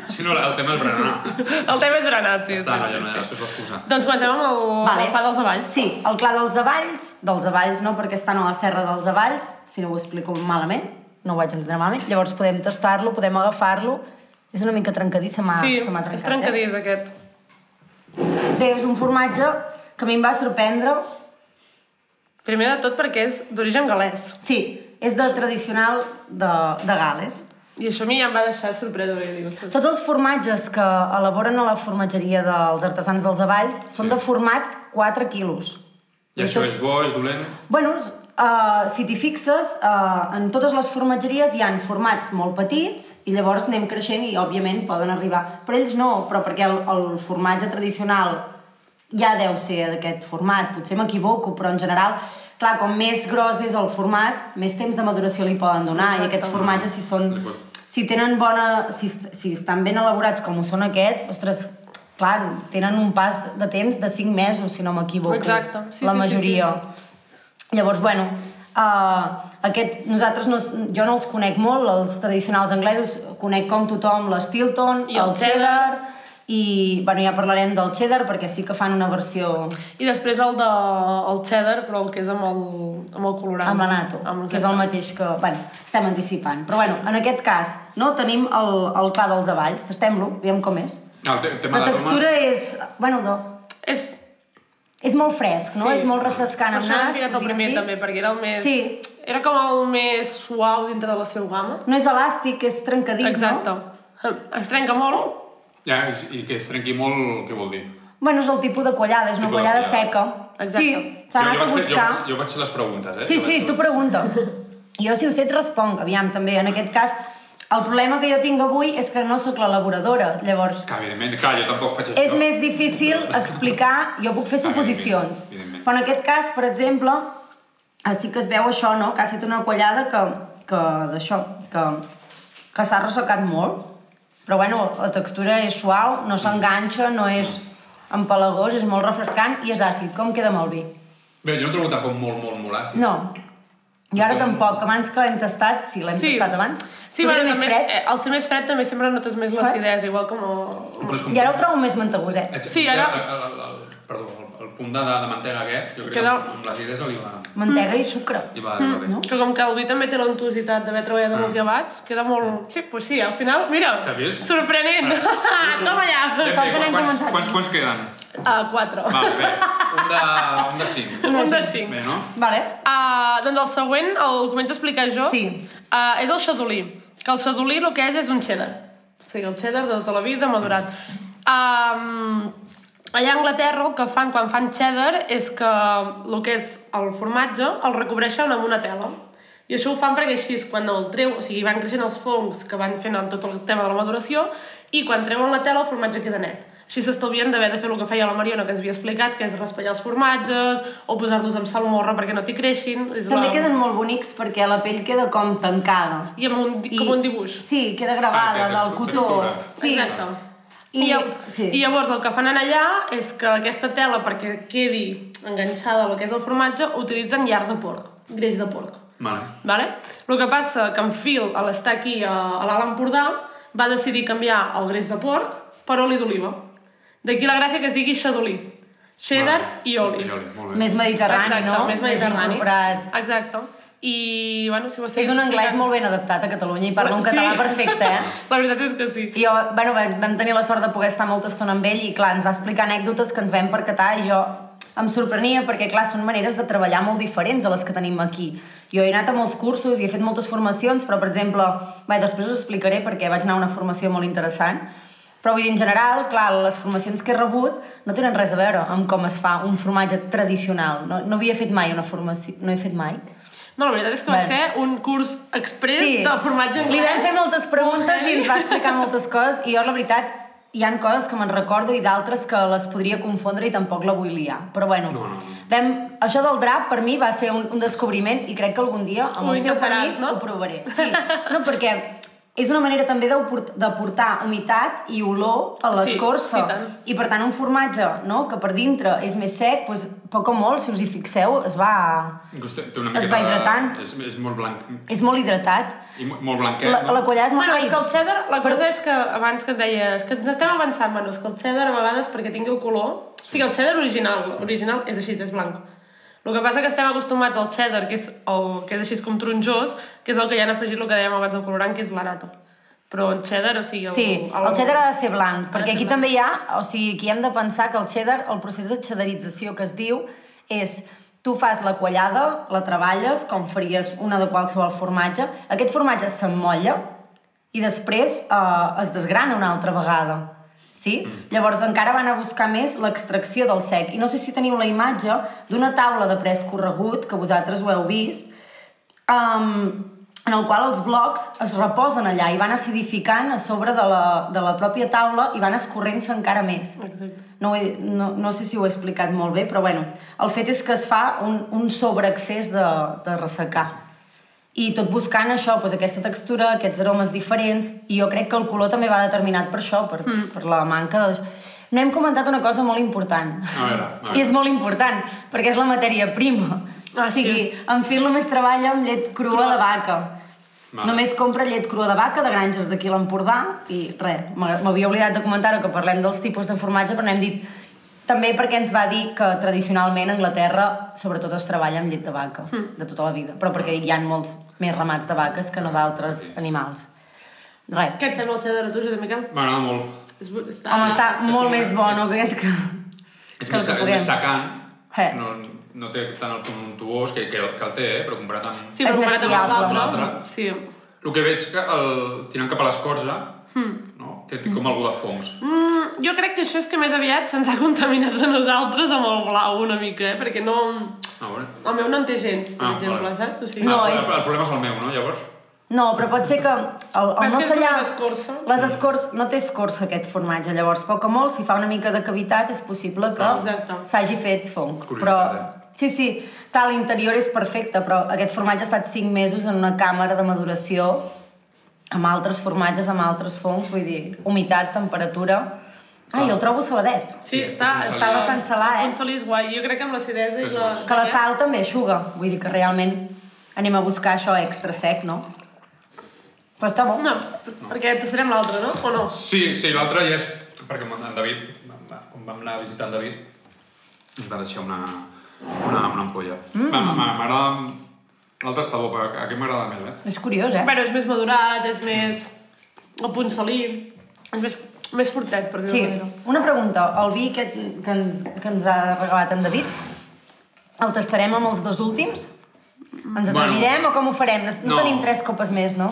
Speaker 1: Si no, el tema és berenar.
Speaker 2: El tema és berenar, sí,
Speaker 1: Està, no,
Speaker 2: sí,
Speaker 1: ja no, ja,
Speaker 2: sí, sí.
Speaker 1: això és l'excusa.
Speaker 2: Doncs comencem amb el,
Speaker 3: Vale.
Speaker 2: vale. el pla dels avalls.
Speaker 3: Sí, el Clar dels Avalls, dels Avalls no, perquè estan a la Serra dels Avalls, si no ho explico malament, no ho vaig entendre malament, llavors podem tastar-lo, podem agafar-lo, és una mica trencadís, se m'ha
Speaker 2: sí,
Speaker 3: se m'ha trencat.
Speaker 2: és trencadís, aquest.
Speaker 3: Eh? Bé, és un formatge que a mi em va sorprendre.
Speaker 2: Primer de tot perquè és d'origen galès.
Speaker 3: Sí, és del tradicional de, de Gales.
Speaker 2: I això a mi ja em va deixar sorpresa, perquè dic, ostres,
Speaker 3: Tots els formatges que elaboren a la formatgeria dels artesans dels Avalls són de format 4 quilos.
Speaker 1: I això és bo, és dolent.
Speaker 3: Bueno, uh, si t'hi fixes, uh, en totes les formatgeries hi han formats molt petits i llavors anem creixent i, òbviament, poden arribar. Però ells no, però perquè el, el formatge tradicional ja deu ser d'aquest format. Potser m'equivoco, però en general, clar, com més gros és el format, més temps de maduració li poden donar i aquests formatges, si són...
Speaker 1: Li pots-
Speaker 3: Si tenen bona... Si, est- si estan ben elaborats com ho són aquests, ostres, clar, tenen un pas de temps de 5 mesos, si no m'equivoco.
Speaker 2: Exacte. Sí,
Speaker 3: la
Speaker 2: sí, sí,
Speaker 3: majoria.
Speaker 2: sí.
Speaker 3: Llavors, bueno, uh, aquest, nosaltres no, jo no els conec molt, els tradicionals anglesos, conec com tothom l'Stilton,
Speaker 2: I el
Speaker 3: el cheddar, i bueno, ja parlarem del cheddar perquè sí que fan una versió
Speaker 2: I després el de el cheddar, però el que és amb el, amb el colorant.
Speaker 3: amb la nato,
Speaker 2: Amb
Speaker 3: que és el mateix que... Bueno, estem anticipant. Però bueno, en aquest cas, no tenim el, el pla dels avalls, tastem-lo, veiem com és.
Speaker 1: Ah, el te- tema
Speaker 3: La
Speaker 1: d'aromes...
Speaker 3: textura és... Bueno, no,
Speaker 2: És...
Speaker 3: és molt fresc, no?
Speaker 2: Sí.
Speaker 3: És molt refrescant
Speaker 2: Per
Speaker 3: amb
Speaker 2: això
Speaker 3: nas.
Speaker 2: l'hem tirat el
Speaker 3: podríem
Speaker 2: primer,
Speaker 3: dir.
Speaker 2: també, perquè era el més...
Speaker 3: Sí.
Speaker 2: Era com el més suau dintre de la seva gamma.
Speaker 3: No és elàstic, és trencadís,
Speaker 2: Exacte.
Speaker 3: no?
Speaker 2: Es trenca molt,
Speaker 1: Ja, és- I que es trenqui molt, què vol dir?
Speaker 3: Bueno, és el tipus de quallada, és una
Speaker 1: Tipus de
Speaker 3: quallada
Speaker 1: quallada.
Speaker 3: seca.
Speaker 2: Exacte.
Speaker 3: Sí, s'ha
Speaker 1: Jo-
Speaker 3: anat
Speaker 1: jo
Speaker 3: a
Speaker 1: vaig fer-
Speaker 3: buscar.
Speaker 1: Jo vaig, jo vaig fer les preguntes, eh?
Speaker 3: Sí,
Speaker 1: Jo
Speaker 3: sí,
Speaker 1: vaig-
Speaker 3: tu pregunta. Jo, si ho sé, et responc, aviam, també. En aquest cas, el problema que jo tinc avui és que no sóc l'elaboradora. Llavors,
Speaker 1: Que, evidentment, clar, jo tampoc faig això.
Speaker 3: és més difícil explicar, jo puc fer suposicions,
Speaker 1: Ah, evidentment, evidentment.
Speaker 3: però en aquest cas, per exemple, eh, sí que es veu això, no?, que ha estat una quallada que, que d'això, que, que s'ha ressecat molt, però bueno, la textura és suau, no s'enganxa, no és empalagós, és molt refrescant i és àcid, com queda amb el vi.
Speaker 1: Bé, jo no trobo tampoc molt, molt, molt àcid.
Speaker 3: No, i ara tampoc, abans que l'hem tastat, sí, l'hem
Speaker 2: Sí.
Speaker 3: tastat abans,
Speaker 2: Sí,
Speaker 3: però
Speaker 2: bueno,
Speaker 3: era
Speaker 2: també, eh, al ser més fred també sempre notes més l'acidesa, igual com el...
Speaker 1: Però és com-
Speaker 3: i ara ho trobo més mantegoset.
Speaker 2: Sí, ara-
Speaker 1: El, el, el, perdó, el, el punt de, de mantega aquest, jo crec que
Speaker 2: Queda-
Speaker 1: amb, amb l'acidesa li va,
Speaker 3: Mantega i sucre.
Speaker 1: li va arribar bé.
Speaker 2: Que com que el vi també té l'entusitat d'haver treballat amb els llevats, queda molt... Sí, doncs sí, al final, mira,
Speaker 1: Mm. T'ha vist? Ah.
Speaker 2: sorprenent. Toma
Speaker 1: Ja
Speaker 2: allà.
Speaker 1: em
Speaker 3: Sort
Speaker 1: dic,
Speaker 3: que n'hem
Speaker 1: quants,
Speaker 3: començat.
Speaker 1: quants, quants queden?
Speaker 2: A quatre.
Speaker 1: Val, bé, un de, un de cinc.
Speaker 2: Un de cinc.
Speaker 1: Bé, no?
Speaker 3: Vale.
Speaker 2: Uh, doncs el següent el començo a explicar jo.
Speaker 3: Sí.
Speaker 2: Uh, és el xadolí. Que el xadolí el que és és un cheddar. O sigui, el cheddar de tota la vida madurat. Um, allà a Anglaterra el que fan quan fan cheddar és que el que és el formatge el recobreixen amb una tela. I això ho fan perquè així és quan el treu, o sigui, van creixent els fongs que van fent en tot el tema de la maduració i quan treuen la tela el formatge queda net. Així s'estalvien d'haver de fer el que feia la Mariona, que ens havia explicat, que és raspallar els formatges o posar-los amb salmorra perquè no t'hi creixin. És
Speaker 3: També
Speaker 2: la...
Speaker 3: queden molt bonics perquè la pell queda com tancada.
Speaker 2: I amb un, di- com un dibuix.
Speaker 3: Sí, queda
Speaker 1: Ah, té
Speaker 3: gravada, del
Speaker 1: textu-
Speaker 3: cotó.
Speaker 1: textura.
Speaker 3: Sí.
Speaker 2: Exacte. I,
Speaker 3: I,
Speaker 2: llav-
Speaker 3: sí.
Speaker 2: I llavors el que fan allà és que aquesta tela, perquè quedi enganxada al que és el formatge, utilitzen llar de porc, greix de porc.
Speaker 1: Vale.
Speaker 2: Vale? El que passa que en Phil, a l'estar aquí a, a l'Alt Empordà, va decidir canviar el greix de porc per oli d'oliva. D'aquí la gràcia que es digui xadolí. Cheddar
Speaker 1: Vale.
Speaker 2: i oli.
Speaker 1: I oli, molt bé.
Speaker 3: Més mediterrani,
Speaker 2: Exacte,
Speaker 3: no?
Speaker 2: més mediterrani.
Speaker 3: incorporat.
Speaker 2: Exacte. I, bueno, si ho
Speaker 3: És un anglès molt ben adaptat a Catalunya i parla un
Speaker 2: Sí.
Speaker 3: català perfecte, eh?
Speaker 2: La veritat és que sí.
Speaker 3: I jo, bueno, vam vam tenir la sort de poder estar molta estona amb ell i, clar, ens va explicar anècdotes que ens vam percatar i jo em sorprenia perquè, clar, són maneres de treballar molt diferents a les que tenim aquí. Jo he anat a molts cursos i he fet moltes formacions, però, per exemple, bé, després us explicaré perquè vaig anar a una formació molt interessant, però vull dir, en general, clar, les formacions que he rebut no tenen res a veure amb com es fa un formatge tradicional. No, no havia fet mai una formació... No he fet mai.
Speaker 2: No, la veritat és que va
Speaker 3: Bé.
Speaker 2: ser un curs express de formatge
Speaker 3: Li
Speaker 2: anglès.
Speaker 3: vam fer moltes preguntes
Speaker 2: Molt
Speaker 3: i
Speaker 2: bé.
Speaker 3: ens va explicar moltes coses i jo, la veritat, hi han coses que me'n recordo i d'altres que les podria confondre i tampoc la vull liar. Però bueno,
Speaker 1: No, no.
Speaker 3: Vam... això del drap per mi va ser un, un descobriment i crec que algun dia, amb
Speaker 2: Ho
Speaker 3: el seu
Speaker 2: intentaràs,
Speaker 3: permís,
Speaker 2: no?
Speaker 3: ho provaré. Sí, no, perquè és una manera també de, de portar humitat i olor a
Speaker 2: Sí,
Speaker 3: l'escorça.
Speaker 2: i tant.
Speaker 3: I per tant un formatge no? que per dintre és més sec, doncs, poc o molt, si us hi fixeu, es va...
Speaker 1: Costa- Té una
Speaker 3: Es
Speaker 1: miqueta
Speaker 3: va
Speaker 1: de-
Speaker 3: hidratant.
Speaker 1: És, és molt blanc.
Speaker 3: És molt hidratat.
Speaker 1: I mo- molt blanquet.
Speaker 3: La, la quallada és molt...
Speaker 2: Bueno, és que el cheddar, la
Speaker 3: Però-
Speaker 2: cosa és que abans que et deia, és que ens estem avançant, Manu, és que el cheddar a vegades perquè tingueu color... O sigui, el cheddar original, original és així, és blanc. El que passa que estem acostumats al cheddar, que és, el, que és així com tronjós, que és el que ja han afegit el que dèiem abans del colorant, que és l'anato. Però en cheddar, o sigui... El,
Speaker 3: Sí, el cheddar ha de ser blanc, perquè
Speaker 2: ser
Speaker 3: aquí
Speaker 2: blanc.
Speaker 3: també hi ha, o sigui, aquí hem de pensar que el cheddar, el procés de cheddarització que es diu, és tu fas la quallada, la treballes, com faries una de qualsevol formatge, aquest formatge s'emmolla i després eh, es desgrana una altra vegada. Sí? Mm. Llavors encara van a buscar més l'extracció del sec. I no sé si teniu la imatge d'una taula de pres corregut, que vosaltres ho heu vist, um, en el qual els blocs es reposen allà i van acidificant a sobre de la, de la pròpia taula i van escorrent-se encara més.
Speaker 2: Exacte.
Speaker 3: No, ho he, no, no sé si ho he explicat molt bé, però bueno, el fet és que es fa un, un sobreaccés de, de ressecar. i tot buscant això, doncs, aquesta textura, aquests aromes diferents, i jo crec que el color també va determinat per això, per, mm. per la manca de... No hem comentat una cosa molt important.
Speaker 1: A veure, a veure.
Speaker 3: I és molt important, perquè és la matèria prima.
Speaker 2: Ah,
Speaker 3: o sigui, en Phil només treballa amb llet crua de vaca.
Speaker 1: Val.
Speaker 3: Només compra llet crua de vaca de granges d'aquí a l'Empordà i res, m'ha- m'havia oblidat de comentar-ho que parlem dels tipus de formatge però n'hem dit també perquè ens va dir que tradicionalment a Anglaterra sobretot es treballa amb llet de vaca
Speaker 2: Hm.
Speaker 3: mm. de tota la vida, però perquè hi ha molts més ramats de vaques que no d'altres animals. Res.
Speaker 2: Què et sembla el cheddar a tu, Josep Miquel?
Speaker 1: M'agrada molt.
Speaker 2: És, bo- està...
Speaker 3: Home, està
Speaker 1: sí,
Speaker 3: molt
Speaker 1: sí,
Speaker 3: més
Speaker 1: sí.
Speaker 3: bon aquest que...
Speaker 1: És més,
Speaker 3: Que el que
Speaker 1: és
Speaker 3: puguem.
Speaker 1: més secant,
Speaker 3: Eh.
Speaker 1: no, no té tant el punt tuós que, que, que el té, eh? però comparat amb...
Speaker 2: Sí,
Speaker 3: és
Speaker 2: però
Speaker 3: més
Speaker 2: comparat amb
Speaker 3: fiable.
Speaker 2: l'altre.
Speaker 1: L'altre.
Speaker 2: Sí.
Speaker 1: El que veig que el, tirant cap a l'escorça,
Speaker 3: Hmm.
Speaker 1: mm. no? té, té com algú de fongs.
Speaker 2: Mm, jo crec que això és que més aviat se'ns ha contaminat a nosaltres amb el blau una mica, eh? Perquè no...
Speaker 1: A veure.
Speaker 2: El meu no en té gens, per
Speaker 1: Ah,
Speaker 2: exemple,
Speaker 1: vale.
Speaker 2: saps? O sigui,
Speaker 3: No,
Speaker 1: ah,
Speaker 3: és-
Speaker 1: el, el problema és el meu, no? Llavors,
Speaker 3: No, però pot ser que el,
Speaker 2: Però és
Speaker 3: el
Speaker 2: que és
Speaker 3: nostre
Speaker 2: només escorça.
Speaker 3: Les escorç... No té escorça aquest formatge, llavors, poc o molt, si fa una mica de cavitat, és possible que
Speaker 2: Ah, exacte.
Speaker 3: s'hagi fet fong. Però...
Speaker 1: Curiositat, eh?
Speaker 3: Sí, sí, clar, l'interior és perfecte, però aquest formatge ha estat 5 mesos en una càmera de maduració amb altres formatges, amb altres fongs, vull dir, humitat, temperatura... Ai, el trobo saladet.
Speaker 2: Sí,
Speaker 1: Sí,
Speaker 2: està,
Speaker 1: el
Speaker 2: està
Speaker 1: salí-
Speaker 2: bastant
Speaker 3: salat, eh?
Speaker 2: El salí és guai. Jo crec que amb l'acidesa i
Speaker 1: És
Speaker 2: la...
Speaker 1: bo.
Speaker 3: Que la sal també aixuga, vull dir que realment anem a buscar això extra sec, no? Però està bo.
Speaker 2: No, per- perquè tastarem l'altre, no? O no?
Speaker 1: sí, sí, l'altre ja és... Perquè amb en David, quan vam anar a visitar en David, em va deixar una, una, una ampolla.
Speaker 3: Hmm.
Speaker 1: Mm. M'agrada... L'altre està bo, però aquest m'agrada més, eh?
Speaker 3: És curiós, eh?
Speaker 2: Bueno, és més madurat, és més... El punt salí... És més, més fortet, per dir-ho
Speaker 3: Sí,
Speaker 2: manera.
Speaker 3: una pregunta. El vi que, que, ens, que ens ha regalat en David, el tastarem amb els dos últims? Ens atrevirem bueno, o com ho farem? No,
Speaker 1: no.
Speaker 3: no tenim tres copes més, no?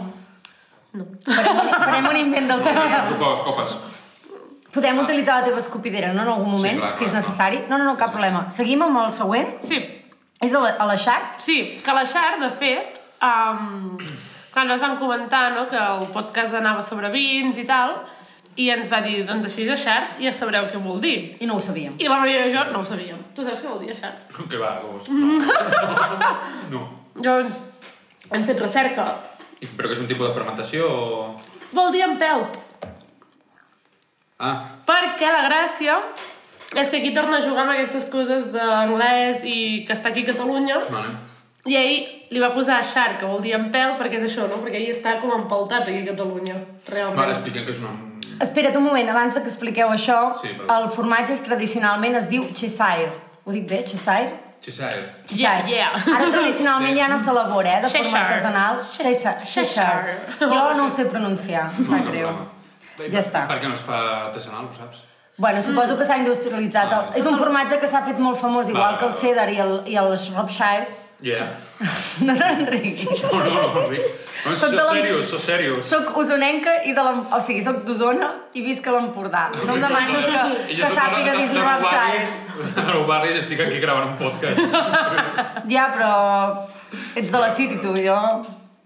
Speaker 3: No. Farem, un- farem un invent del primer.
Speaker 1: Copes, copes.
Speaker 3: Podem utilitzar la teva escopidera, no?, en algun moment,
Speaker 1: clar,
Speaker 3: si és
Speaker 1: clar,
Speaker 3: necessari. No, no, no, cap problema. Seguim amb el següent.
Speaker 2: Sí,
Speaker 3: És a la, a la Xart?
Speaker 2: sí, que la Xar, de fet, um, clar, nosaltres vam comentar no, que el podcast anava sobre vins i tal, i ens va dir, doncs així és Xar, ja sabreu què vol dir.
Speaker 3: I no ho sabíem.
Speaker 2: I la Maria i jo no ho sabíem. Tu saps què vol dir, Xar?
Speaker 1: Que va, gos. No. no.
Speaker 2: Llavors, Doncs, hem fet recerca.
Speaker 1: I- Però que és un tipus de fermentació o...
Speaker 2: Vol dir empelt.
Speaker 1: Ah,
Speaker 2: Perquè la gràcia és que aquí torna a jugar amb aquestes coses d'anglès i que està aquí a Catalunya.
Speaker 1: vale.
Speaker 2: I ell li va posar xar, que vol dir empel, perquè és això, no? Perquè ell està com empeltat aquí a Catalunya, realment.
Speaker 1: Vale, expliquem que és una...
Speaker 3: Espera't un moment, abans de que expliqueu això,
Speaker 1: Sí, perdó.
Speaker 3: el formatge és, tradicionalment es diu Cheshire. Ho dic bé, Cheshire?
Speaker 1: Cheshire.
Speaker 3: Cheshire.
Speaker 2: Yeah, yeah.
Speaker 3: Ara tradicionalment ja no s'elabora, eh, de forma
Speaker 2: Cheshire.
Speaker 3: artesanal. Cheshire. Cheshire. Jo no ho sé pronunciar, em sap greu. Ja està.
Speaker 1: Per què no es fa artesanal, ho saps?
Speaker 3: Bueno, suposo que s'ha industrialitzat.
Speaker 1: Ah,
Speaker 3: El- És un formatge que s'ha fet molt famós, igual
Speaker 1: Va,
Speaker 3: que el
Speaker 1: va, va.
Speaker 3: cheddar i el, i el Shropshire.
Speaker 1: Yeah.
Speaker 3: No te'n riguis.
Speaker 1: No, no, no, Enric. No,
Speaker 3: Soc
Speaker 1: so
Speaker 3: de la-
Speaker 1: serios, so serios.
Speaker 3: Soc usonenca i de l'Em- O sigui, soc d'Osona i visc a l'Empordà. No em demanis que, que sàpiga dir Shropshire.
Speaker 1: En el barri estic aquí gravant un podcast.
Speaker 3: Ja, però ets de la City, tu. Jo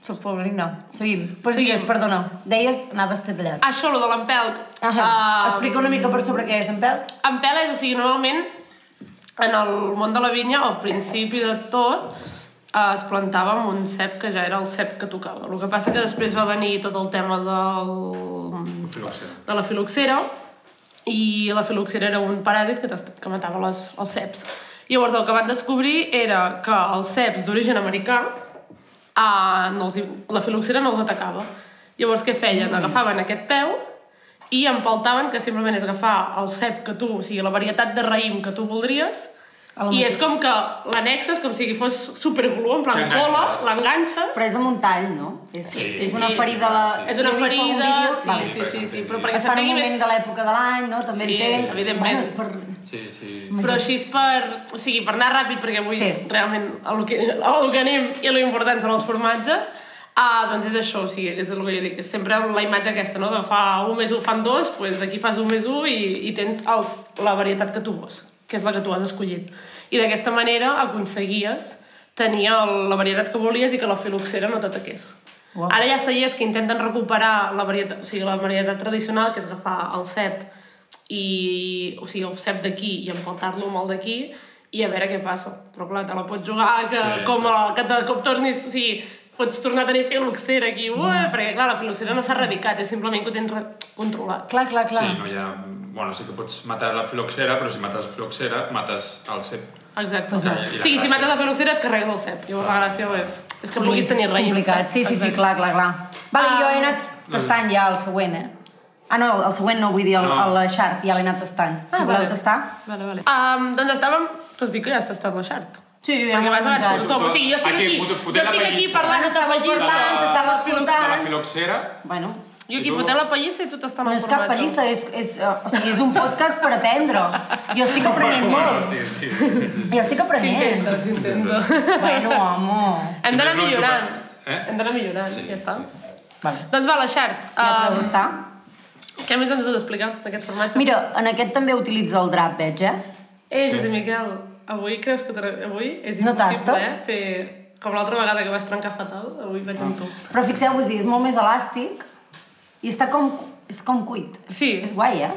Speaker 3: soc poblina. Seguim. Pues
Speaker 2: Seguim.
Speaker 3: digues, perdona. Deies, anaves detallat.
Speaker 2: Això, lo de l'empelc.
Speaker 3: Ah,
Speaker 2: eh,
Speaker 3: Explica una mica per sobre què és en pèl.
Speaker 2: Empel és, o sigui, normalment, en el món de la vinya, al principi de tot, eh, es plantava amb un cep que ja era el cep que tocava. El que passa que després va venir tot el tema del
Speaker 1: Filòxera.
Speaker 2: de la filoxera i la filoxera era un paràsit que, t'est- que matava les, els ceps. Llavors el que van descobrir era que els ceps d'origen americà uh, no els, hi- la filoxera no els atacava. Llavors què feien?
Speaker 3: Mm.
Speaker 2: Agafaven aquest peu i empaltaven, que simplement és agafar el cep que tu, o sigui, la varietat de raïm que tu voldries,
Speaker 3: A la
Speaker 2: i és com que l'anexes, com si fos superglú, en plan
Speaker 1: S'enganxes.
Speaker 2: cola, l'enganxes,
Speaker 3: Però és amb un tall, no? És,
Speaker 1: Sí,
Speaker 3: és
Speaker 1: sí,
Speaker 3: una
Speaker 1: sí,
Speaker 3: ferida a la...
Speaker 1: sí.
Speaker 2: és una
Speaker 3: He vist algun
Speaker 2: ferida...
Speaker 3: vídeo?
Speaker 2: Sí,
Speaker 3: Vale.
Speaker 2: sí, sí, sí, sí, però perquè
Speaker 3: Es fa en un
Speaker 2: s'entengui
Speaker 3: moment
Speaker 2: més...
Speaker 3: de l'època de l'any, no? També
Speaker 2: Sí,
Speaker 3: entenc.
Speaker 2: evidentment.
Speaker 3: Bueno, és per...
Speaker 1: Sí, sí.
Speaker 2: Però així és per... O sigui, per anar ràpid, perquè avui sí.
Speaker 3: Sí.
Speaker 2: realment el que, el que anem i la importància són els formatges, ah, doncs és això, o sigui, és el que jo dic, és sempre la imatge aquesta, no?, de fa un més un fan dos, doncs aquí fas un més un i, i tens els, la varietat que tu vols, que és la que tu has escollit. I d'aquesta manera aconseguies tenir el, la varietat que volies i que la filoxera no t'ataqués.
Speaker 3: Uau.
Speaker 2: Ara ja seies que intenten recuperar la varietat, o sigui, la varietat tradicional, que és agafar el cep i, o sigui, el cep d'aquí i empaltar-lo amb el d'aquí i a veure què passa. Però clar, te la pots jugar que
Speaker 1: Sí,
Speaker 2: sí, com
Speaker 1: pues-
Speaker 2: a, que de cop tornis... O sigui, pots tornar a tenir filoxera aquí, ué,
Speaker 3: Mm.
Speaker 2: perquè clar, la filoxera no s'ha erradicat, és simplement que ho tens re- controlat.
Speaker 3: Clar, clar, clar.
Speaker 1: Sí, no hi ha... Bueno, sí que pots matar la filoxera, però si mates la filoxera, mates el cep.
Speaker 2: Exacte.
Speaker 1: Pues no.
Speaker 2: O sigui, si mates la filoxera et carregues el set. Llavors la gràcia és, és que puguis tenir eh?
Speaker 3: és
Speaker 2: raïm.
Speaker 3: complicat. Sí, sí, sí, clar, clar, clar. Vale,
Speaker 2: Ah.
Speaker 3: jo he anat tastant ja el següent, eh? Ah, no, el següent no, vull dir el,
Speaker 1: No.
Speaker 3: el Shard, ja l'he anat tastant. Si voleu tastar.
Speaker 2: Ah, Vale, vale. Um, doncs estàvem... T'has dit que ja has tastat la xart.
Speaker 3: Sí, ja
Speaker 2: Perquè
Speaker 3: m'ho he
Speaker 2: vas a vaig
Speaker 3: menjat.
Speaker 2: amb tothom. O sigui, jo estic
Speaker 1: Aquí,
Speaker 2: doncs, aquí,
Speaker 1: fotent-
Speaker 2: jo
Speaker 1: fotent la
Speaker 2: estic aquí
Speaker 1: pallissa.
Speaker 2: parlant,
Speaker 3: Bueno,
Speaker 2: estava
Speaker 3: estava
Speaker 2: parlant,
Speaker 3: parlant,
Speaker 2: estava
Speaker 3: estava
Speaker 1: De
Speaker 2: escoltant.
Speaker 3: escoltant.
Speaker 1: la filoxera...
Speaker 3: Bueno,
Speaker 2: Jo
Speaker 1: I
Speaker 2: aquí
Speaker 1: tu?
Speaker 2: fotent la pallissa i tu t'estan
Speaker 3: no és cap pallissa, és, és, eh, o sigui, és un podcast per aprendre. Jo estic aprenent molt.
Speaker 1: sí, sí. sí.
Speaker 3: Jo estic aprenent.
Speaker 2: S'intenta, s'intenta.
Speaker 3: Bueno, home.
Speaker 2: Hem
Speaker 1: Sempre és
Speaker 2: d'anar
Speaker 1: una
Speaker 2: millorant.
Speaker 1: sopa- eh?
Speaker 2: Hem d'anar millorant,
Speaker 1: Sí,
Speaker 2: ja està.
Speaker 3: Vale.
Speaker 2: Doncs va, la xart.
Speaker 3: Ja
Speaker 1: Ah,
Speaker 3: podeu
Speaker 2: Um,
Speaker 3: estar.
Speaker 2: què més ens vols explicar d'aquest formatge?
Speaker 3: Mira, en aquest també utilitza el drap, veig, eh?
Speaker 2: Eh, Josep Miquel, avui creus que... t'arri- Avui és
Speaker 3: No
Speaker 2: impossible,
Speaker 3: tastes? Ah.
Speaker 2: eh? Fer... Com l'altra vegada que vas trencar fatal, avui vaig amb tu.
Speaker 3: Però fixeu-vos-hi, és molt més elàstic i està com... És com cuit.
Speaker 2: Sí.
Speaker 3: És guai, eh?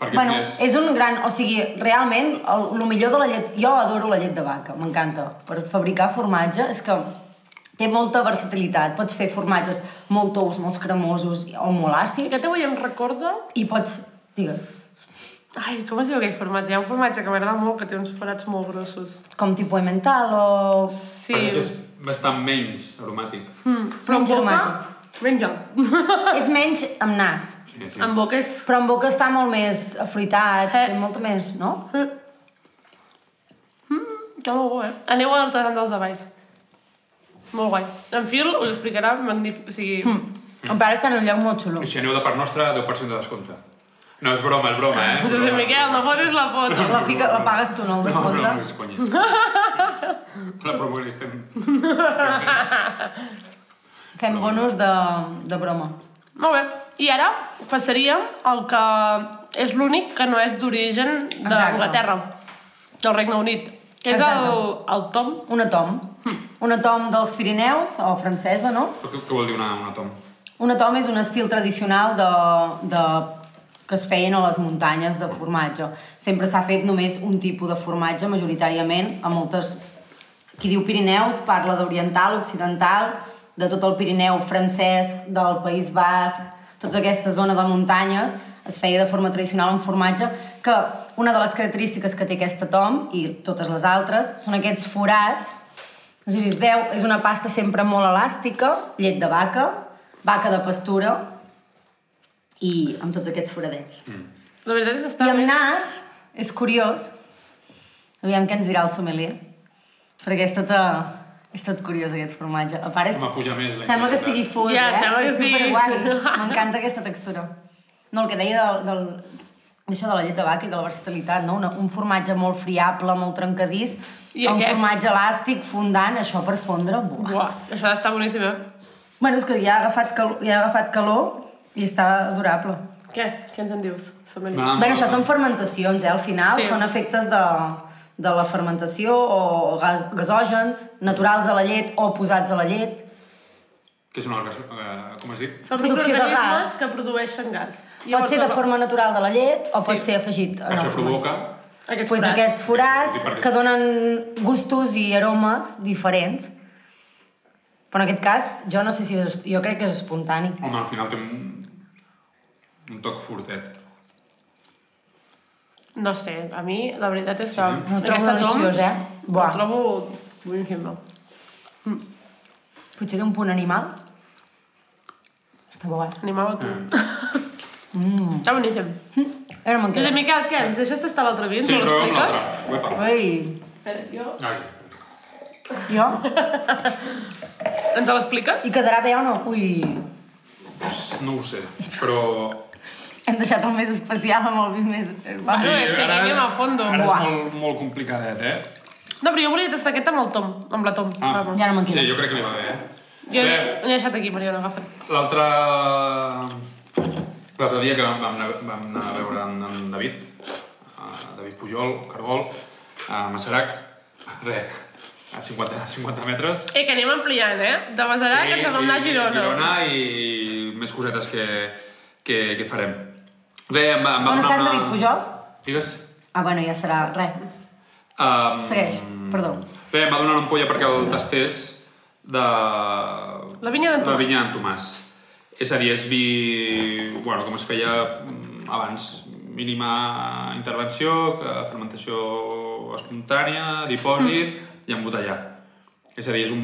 Speaker 1: Perquè
Speaker 3: Bueno,
Speaker 1: és...
Speaker 3: és un gran... O sigui, realment, el, el millor de la llet... Jo adoro la llet de vaca, m'encanta. Per fabricar formatge és que té molta versatilitat. Pots fer formatges molt tous, molt cremosos o molt àcids.
Speaker 2: Aquest avui em recorda...
Speaker 3: I pots... Digues,
Speaker 2: Ai, com es diu aquell formatge? Hi ha un formatge que m'agrada molt, que té uns forats molt grossos.
Speaker 3: com tipus mental o...
Speaker 2: Sí,
Speaker 1: Però és que és bastant menys aromàtic.
Speaker 2: però en
Speaker 3: menys
Speaker 2: boca...
Speaker 3: aromàtic.
Speaker 2: Menja.
Speaker 3: és menys amb nas.
Speaker 1: Sí, sí.
Speaker 2: en boca és...
Speaker 3: Però en boca està molt més afritat,
Speaker 2: Eh.
Speaker 3: té molta més, no?
Speaker 2: Mm, que molt bo, eh? Aneu a l'artesan dels avalls. Molt guai. En Phil us explicarà magnífic... O sigui,
Speaker 3: Em pare està en un lloc molt xulo.
Speaker 1: I si aneu de part nostra, 10% de descompte. No, és broma, és broma, eh?
Speaker 2: Josep Miquel, no fotis la foto.
Speaker 3: La, fica, la pagues tu, no el
Speaker 1: No,
Speaker 3: descompte?
Speaker 1: no, no, és conya. La promo que li estem...
Speaker 3: Fem bonus de, de broma.
Speaker 2: Molt bé. I ara passaríem al que és l'únic que no és d'origen d'Anglaterra, del Regne Unit, que és el,
Speaker 3: Exacte.
Speaker 2: el Tom.
Speaker 3: Una tom. Una tom dels Pirineus, o francesa, no?
Speaker 1: Però què, què vol dir una, una tom?
Speaker 3: Una tom és un estil tradicional de, de, que es feien a les muntanyes de formatge. Sempre s'ha fet només un tipus de formatge, majoritàriament, a moltes... Qui diu Pirineus parla d'oriental, occidental, de tot el Pirineu francès, del País Basc, tota aquesta zona de muntanyes es feia de forma tradicional amb formatge, que una de les característiques que té aquesta tom, i totes les altres, són aquests forats no sé si es veu, és una pasta sempre molt elàstica, llet de vaca, vaca de pastura i amb tots aquests foradets. Mm.
Speaker 2: La veritat és que està
Speaker 3: I amb
Speaker 2: bé.
Speaker 3: nas, és curiós, aviam què ens dirà el sommelier, perquè és tot, eh, és tot curiós aquest formatge. A part, és,
Speaker 1: Home, puja més la
Speaker 3: sembla que
Speaker 1: intensitat.
Speaker 3: estigui full,
Speaker 2: Ja,
Speaker 3: eh?
Speaker 2: sembla que
Speaker 3: és
Speaker 2: sí.
Speaker 3: superguai. M'encanta aquesta textura. No, el que deia del, del, això de la llet de vaca i de la versatilitat, no? Una, un formatge molt friable, molt trencadís,
Speaker 2: I
Speaker 3: un
Speaker 2: aquest?
Speaker 3: formatge elàstic, fondant, això per fondre, buah.
Speaker 2: Buah, això està boníssim, eh?
Speaker 3: Bueno, és que ja ha agafat calor, ja ha agafat calor i està durable.
Speaker 2: Què? Què ens en dius? Som
Speaker 1: No,
Speaker 2: no.
Speaker 1: no,
Speaker 3: Bé,
Speaker 1: no,
Speaker 3: això
Speaker 1: no.
Speaker 3: són fermentacions, eh? Al final
Speaker 2: Ah, Sí.
Speaker 3: sí. són efectes de, de la fermentació o gas, gasògens, naturals a la llet o posats a la llet.
Speaker 1: Què són els que... eh, Com has dit?
Speaker 2: Són
Speaker 3: Producció de
Speaker 2: microorganismes
Speaker 3: gas.
Speaker 2: que produeixen gas.
Speaker 3: pot ser de
Speaker 2: la-
Speaker 3: forma natural de la llet o sí. pot ser afegit.
Speaker 1: Que això provoca...
Speaker 2: Aquests
Speaker 3: Pues
Speaker 2: forats.
Speaker 3: aquests forats
Speaker 1: Sí, perquè-
Speaker 3: que donen gustos i aromes diferents. Però en aquest cas, jo no sé si és... Jo crec que és espontani.
Speaker 1: Home, al final té un... Un toc fortet.
Speaker 2: No sé, a mi la veritat és que...
Speaker 3: Ho trobo
Speaker 2: aquesta tom,
Speaker 3: deliciós, eh? Buah.
Speaker 2: Ho trobo boníssim, no?
Speaker 3: Potser té un punt animal. Està bo, eh?
Speaker 2: Animava tu. Mm. Està boníssim.
Speaker 3: Ara me'n
Speaker 2: Josep
Speaker 3: queda.
Speaker 2: Miquel, què? Ens deixes tastar l'altre vi? Ens
Speaker 1: Sí,
Speaker 2: ho
Speaker 1: però amb
Speaker 2: expliques?
Speaker 1: l'altre. Uepa.
Speaker 3: Ei,
Speaker 2: Espera, jo...
Speaker 1: Ai.
Speaker 3: jo?
Speaker 2: Ens l'expliques?
Speaker 3: I quedarà bé o no? Ui,
Speaker 1: Pss, No ho sé, però...
Speaker 3: hem deixat el més especial amb el vi més...
Speaker 2: Sí. No, és que
Speaker 1: ara-
Speaker 2: aquí anem a fondo.
Speaker 1: Ara és
Speaker 3: Buah.
Speaker 1: molt, molt complicadet, eh?
Speaker 2: No, però jo volia tastar aquest amb el Tom, amb la Tom.
Speaker 1: Ah.
Speaker 2: Vamos.
Speaker 3: Ja no me'n
Speaker 1: Sí,
Speaker 3: queda.
Speaker 1: jo crec que li va bé, eh?
Speaker 2: Jo
Speaker 1: Bé,
Speaker 2: l'he deixat aquí, Mariona, agafa't.
Speaker 1: L'altre... L'altre dia que vam anar, vam anar a veure en, en David, eh, David Pujol, Cargol, a Massarac, re, a 50, 50 metres.
Speaker 2: Eh, que anem ampliant, eh? De Masarà, que ens vam anar a Girona.
Speaker 1: Girona i més cosetes que, que, que farem. Re, em, va- em va
Speaker 3: On
Speaker 1: donar
Speaker 3: està en
Speaker 1: una-
Speaker 3: David Pujol?
Speaker 1: Digues.
Speaker 3: Ah, bueno, ja serà res.
Speaker 1: Um,
Speaker 3: Segueix, perdó.
Speaker 1: Bé, em va donar una ampolla perquè el tastés de...
Speaker 2: La vinya d'en
Speaker 1: La
Speaker 2: Tomàs.
Speaker 1: vinya d'en Tomàs. És a dir, és vi... Bueno, com es feia mm, abans, mínima intervenció, que fermentació espontània, dipòsit
Speaker 2: Mm.
Speaker 1: i embotellar. És a dir, és un,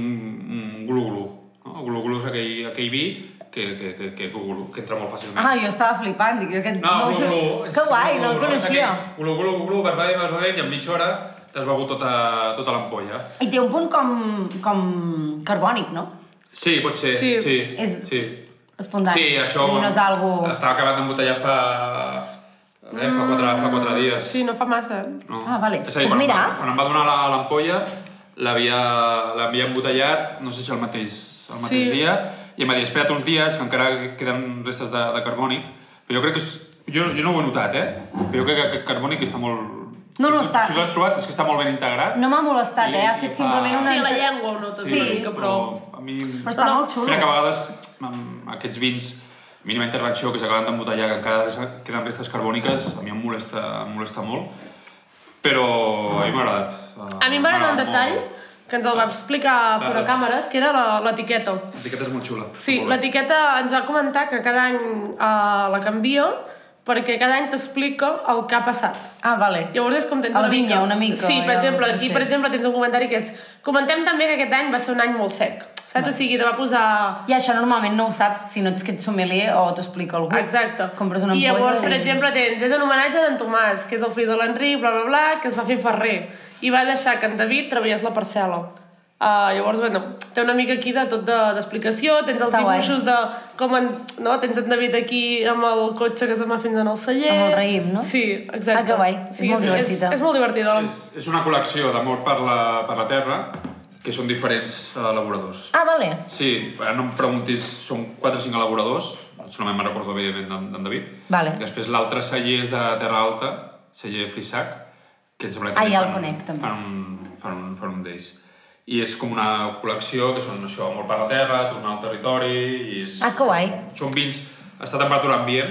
Speaker 1: un glu-glu. No? Glu-glu és aquell, aquell vi que, que, que, que, glu-glu, que entra molt fàcilment.
Speaker 3: Ah, jo estava flipant, dic, jo aquest...
Speaker 1: No,
Speaker 3: ho
Speaker 1: glu,
Speaker 3: sé.
Speaker 1: glu.
Speaker 3: Que guai, no el coneixia.
Speaker 1: Glu, glu, glu, vas bevent, vas bevent, i en mitja hora t'has begut tota, tota l'ampolla.
Speaker 3: I té un punt com, com carbònic, no?
Speaker 1: Sí, pot ser, sí.
Speaker 2: Sí.
Speaker 1: sí.
Speaker 3: És-
Speaker 1: sí.
Speaker 3: Espontani.
Speaker 1: Sí, això...
Speaker 3: I no és algo...
Speaker 1: Estava acabat d'embotellar fa... Eh, fa, quatre, fa quatre dies.
Speaker 2: Sí, no fa massa.
Speaker 1: No.
Speaker 3: Ah, vale.
Speaker 1: És a dir,
Speaker 3: Pues
Speaker 1: quan,
Speaker 3: mira.
Speaker 1: quan em va donar la- l'ampolla, l'havia l'havia embotellat, no sé si el mateix, el mateix
Speaker 2: Sí.
Speaker 1: dia, i em va dir, espera't uns dies, que encara queden restes de, de carbònic, però jo crec que... És, jo, jo no ho he notat, eh? Però jo crec que aquest carbònic està molt...
Speaker 3: No, no
Speaker 1: si, tu-
Speaker 3: està.
Speaker 1: Si l'has trobat, és que està molt ben integrat.
Speaker 3: No m'ha molestat,
Speaker 1: I-
Speaker 3: eh?
Speaker 1: i
Speaker 3: Ha estat
Speaker 1: fa-
Speaker 3: simplement una...
Speaker 2: Sí, la llengua ho notes
Speaker 3: Sí,
Speaker 2: una mica, però...
Speaker 1: A mi...
Speaker 3: Però està
Speaker 2: No, no.
Speaker 3: molt xulo.
Speaker 1: Mira que a vegades amb aquests vins mínima intervenció que s'acaben d'embotellar, que encara res- queden restes carbòniques, a mi em molesta, em molesta molt, però a mi m'ha agradat.
Speaker 2: A mi em va agradar un detall que ens el va explicar fora
Speaker 1: Clar.
Speaker 2: càmeres, que era la- l'etiqueta.
Speaker 1: L'etiqueta és molt xula.
Speaker 2: Sí,
Speaker 1: Molt bé.
Speaker 2: l'etiqueta ens va comentar que cada any eh, la canvio perquè cada any t'explica el que ha passat.
Speaker 3: Ah, vale.
Speaker 2: Llavors és com tens
Speaker 3: El
Speaker 2: una
Speaker 3: vinya,
Speaker 2: mica...
Speaker 3: una mica,
Speaker 2: Sí, per
Speaker 3: ja,
Speaker 2: exemple,
Speaker 3: el
Speaker 2: aquí per
Speaker 3: procés.
Speaker 2: exemple tens un comentari que és comentem també que aquest any va ser un any molt sec, saps? O sigui, te va posar...
Speaker 3: I això normalment no ho saps si no ets que ets sommelier o t'ho explica algú.
Speaker 2: Exacte.
Speaker 3: Compres una
Speaker 2: I llavors,
Speaker 3: ampolla
Speaker 2: per
Speaker 3: i-
Speaker 2: exemple, tens, és en homenatge a en Tomàs, que és el fill de l'Enric, bla, bla, bla, que es va fer ferrer. I va deixar que en David treballés la parcel·la. Uh, llavors, bueno, té una mica aquí de tot de- d'explicació, de, tens els
Speaker 3: Està guai.
Speaker 2: dibuixos de com en, no? tens en David aquí amb el cotxe que se'n va fins en el celler.
Speaker 3: Amb el raïm, no?
Speaker 2: Sí, exacte.
Speaker 3: Ah, que guai. És molt
Speaker 2: És,
Speaker 3: divertida.
Speaker 2: és molt divertida. la-
Speaker 1: És, és una col·lecció d'amor per, la, per la terra, que són diferents eh, elaboradors.
Speaker 3: Ah, vale.
Speaker 1: Sí, ara no em preguntis, són 4 o 5 elaboradors, solament me'n recordo evidentment d'en- d'en David.
Speaker 3: Vale.
Speaker 1: I després l'altre celler és de Terra Alta, celler Frisac, que em sembla que
Speaker 3: Ah,
Speaker 1: també
Speaker 3: ja el
Speaker 1: fan-
Speaker 3: conec, també.
Speaker 1: Fan un, fan un, fan un d'ells. I és com una col·lecció que són això, amor per la terra, tornar al territori... I és,
Speaker 3: Ah, que guai.
Speaker 1: Són vins, està a temperatura ambient,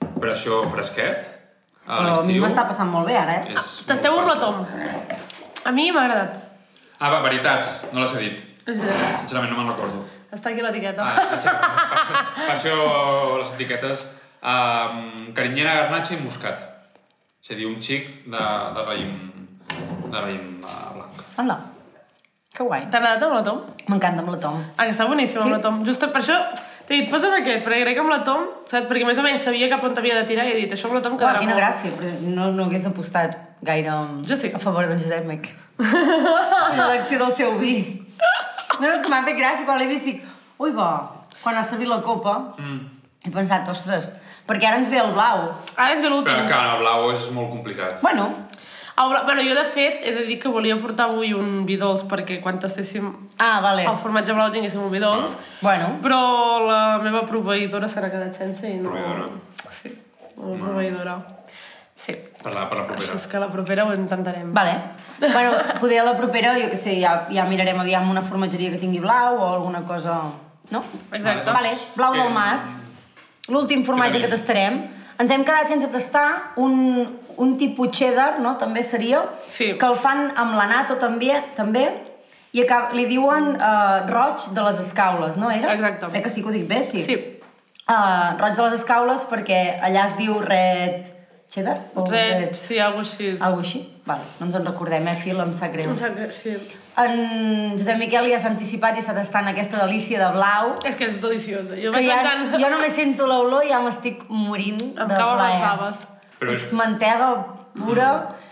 Speaker 1: però això fresquet, a
Speaker 3: Però a mi
Speaker 1: l'estiu.
Speaker 3: m'està passant molt bé ara, eh?
Speaker 1: és
Speaker 2: Tasteu
Speaker 1: molt
Speaker 2: un
Speaker 1: fàcil.
Speaker 2: retom. A mi m'ha agradat.
Speaker 1: Ah, va, veritats, no les he dit. Sincerament no me'n recordo.
Speaker 2: Està aquí l'etiqueta.
Speaker 1: Ah, exacte. per això les etiquetes. Um, carinyera, garnatxa i moscat. És a dir, un xic de, de raïm, de raïm eh, blanc.
Speaker 3: Hola. Que guai.
Speaker 2: T'ha agradat amb la Tom?
Speaker 3: M'encanta amb la Tom.
Speaker 2: Ah, que està boníssim
Speaker 3: Sí.
Speaker 2: amb la Tom. Just per això t'he dit, posa'm aquest, perquè crec que amb la Tom, saps? Perquè més o menys sabia cap on t'havia de tirar i he dit, això amb la Tom
Speaker 3: Uau,
Speaker 2: quedarà
Speaker 3: quina gràcia, però no, no hagués apostat gaire
Speaker 2: Jo sí.
Speaker 3: a favor d'en Josep Mec. L'elecció del seu vi. No, és que m'ha fet gràcia quan l'he vist, dic, ui, bo, quan ha servit la copa, he pensat, ostres, perquè ara ens ve el blau.
Speaker 2: Ara és bé
Speaker 1: Però
Speaker 2: l'últim.
Speaker 1: que el blau és molt complicat.
Speaker 3: Bueno,
Speaker 2: Au, la- Bueno, jo de fet he de dir que volia portar avui un vi dolç perquè quan tastéssim
Speaker 3: ah, vale.
Speaker 2: el formatge blau tinguéssim un vi dolç,
Speaker 3: Bueno,
Speaker 2: però la meva proveïdora s'ha quedat sense i no...
Speaker 1: Proveïdora?
Speaker 2: Sí, la meva proveïdora. Sí,
Speaker 1: Per la, per la
Speaker 2: així
Speaker 1: propera.
Speaker 2: és que la propera ho intentarem.
Speaker 3: vale. Bueno, poder a la propera, jo què sé, ja, ja mirarem aviam una formatgeria que tingui blau o alguna cosa... No?
Speaker 2: Exacte.
Speaker 1: Doncs,
Speaker 3: Vale, blau
Speaker 1: eh,
Speaker 3: del mas. L'últim formatge
Speaker 1: tenim?
Speaker 3: que tastarem. Ens hem quedat sense tastar un, un tipus cheddar, no? També seria.
Speaker 2: Sí.
Speaker 3: Que el fan amb l'anato també, també i acab... li diuen uh, roig de les escaules, no era?
Speaker 2: Exacte.
Speaker 3: Eh que sí que ho dic bé, sí?
Speaker 2: Sí.
Speaker 3: Uh, roig de les escaules perquè allà es diu red cheddar? O
Speaker 2: Red, sí, alguna cosa així.
Speaker 3: Algo així? Vale, no ens en recordem, eh, Phil? Em sap greu.
Speaker 2: Em sap greu, Sí.
Speaker 3: En Josep Miquel ja s'ha anticipat i està tastant aquesta delícia de blau.
Speaker 2: És que és deliciosa. Jo
Speaker 3: Que
Speaker 2: vaig
Speaker 3: ja,
Speaker 2: pensant...
Speaker 3: jo només sento l'olor i ja m'estic morint
Speaker 2: Em
Speaker 3: de
Speaker 2: cauen les
Speaker 3: plaer.
Speaker 2: faves.
Speaker 1: Però
Speaker 3: és
Speaker 1: és- Mm.
Speaker 3: mantega pura,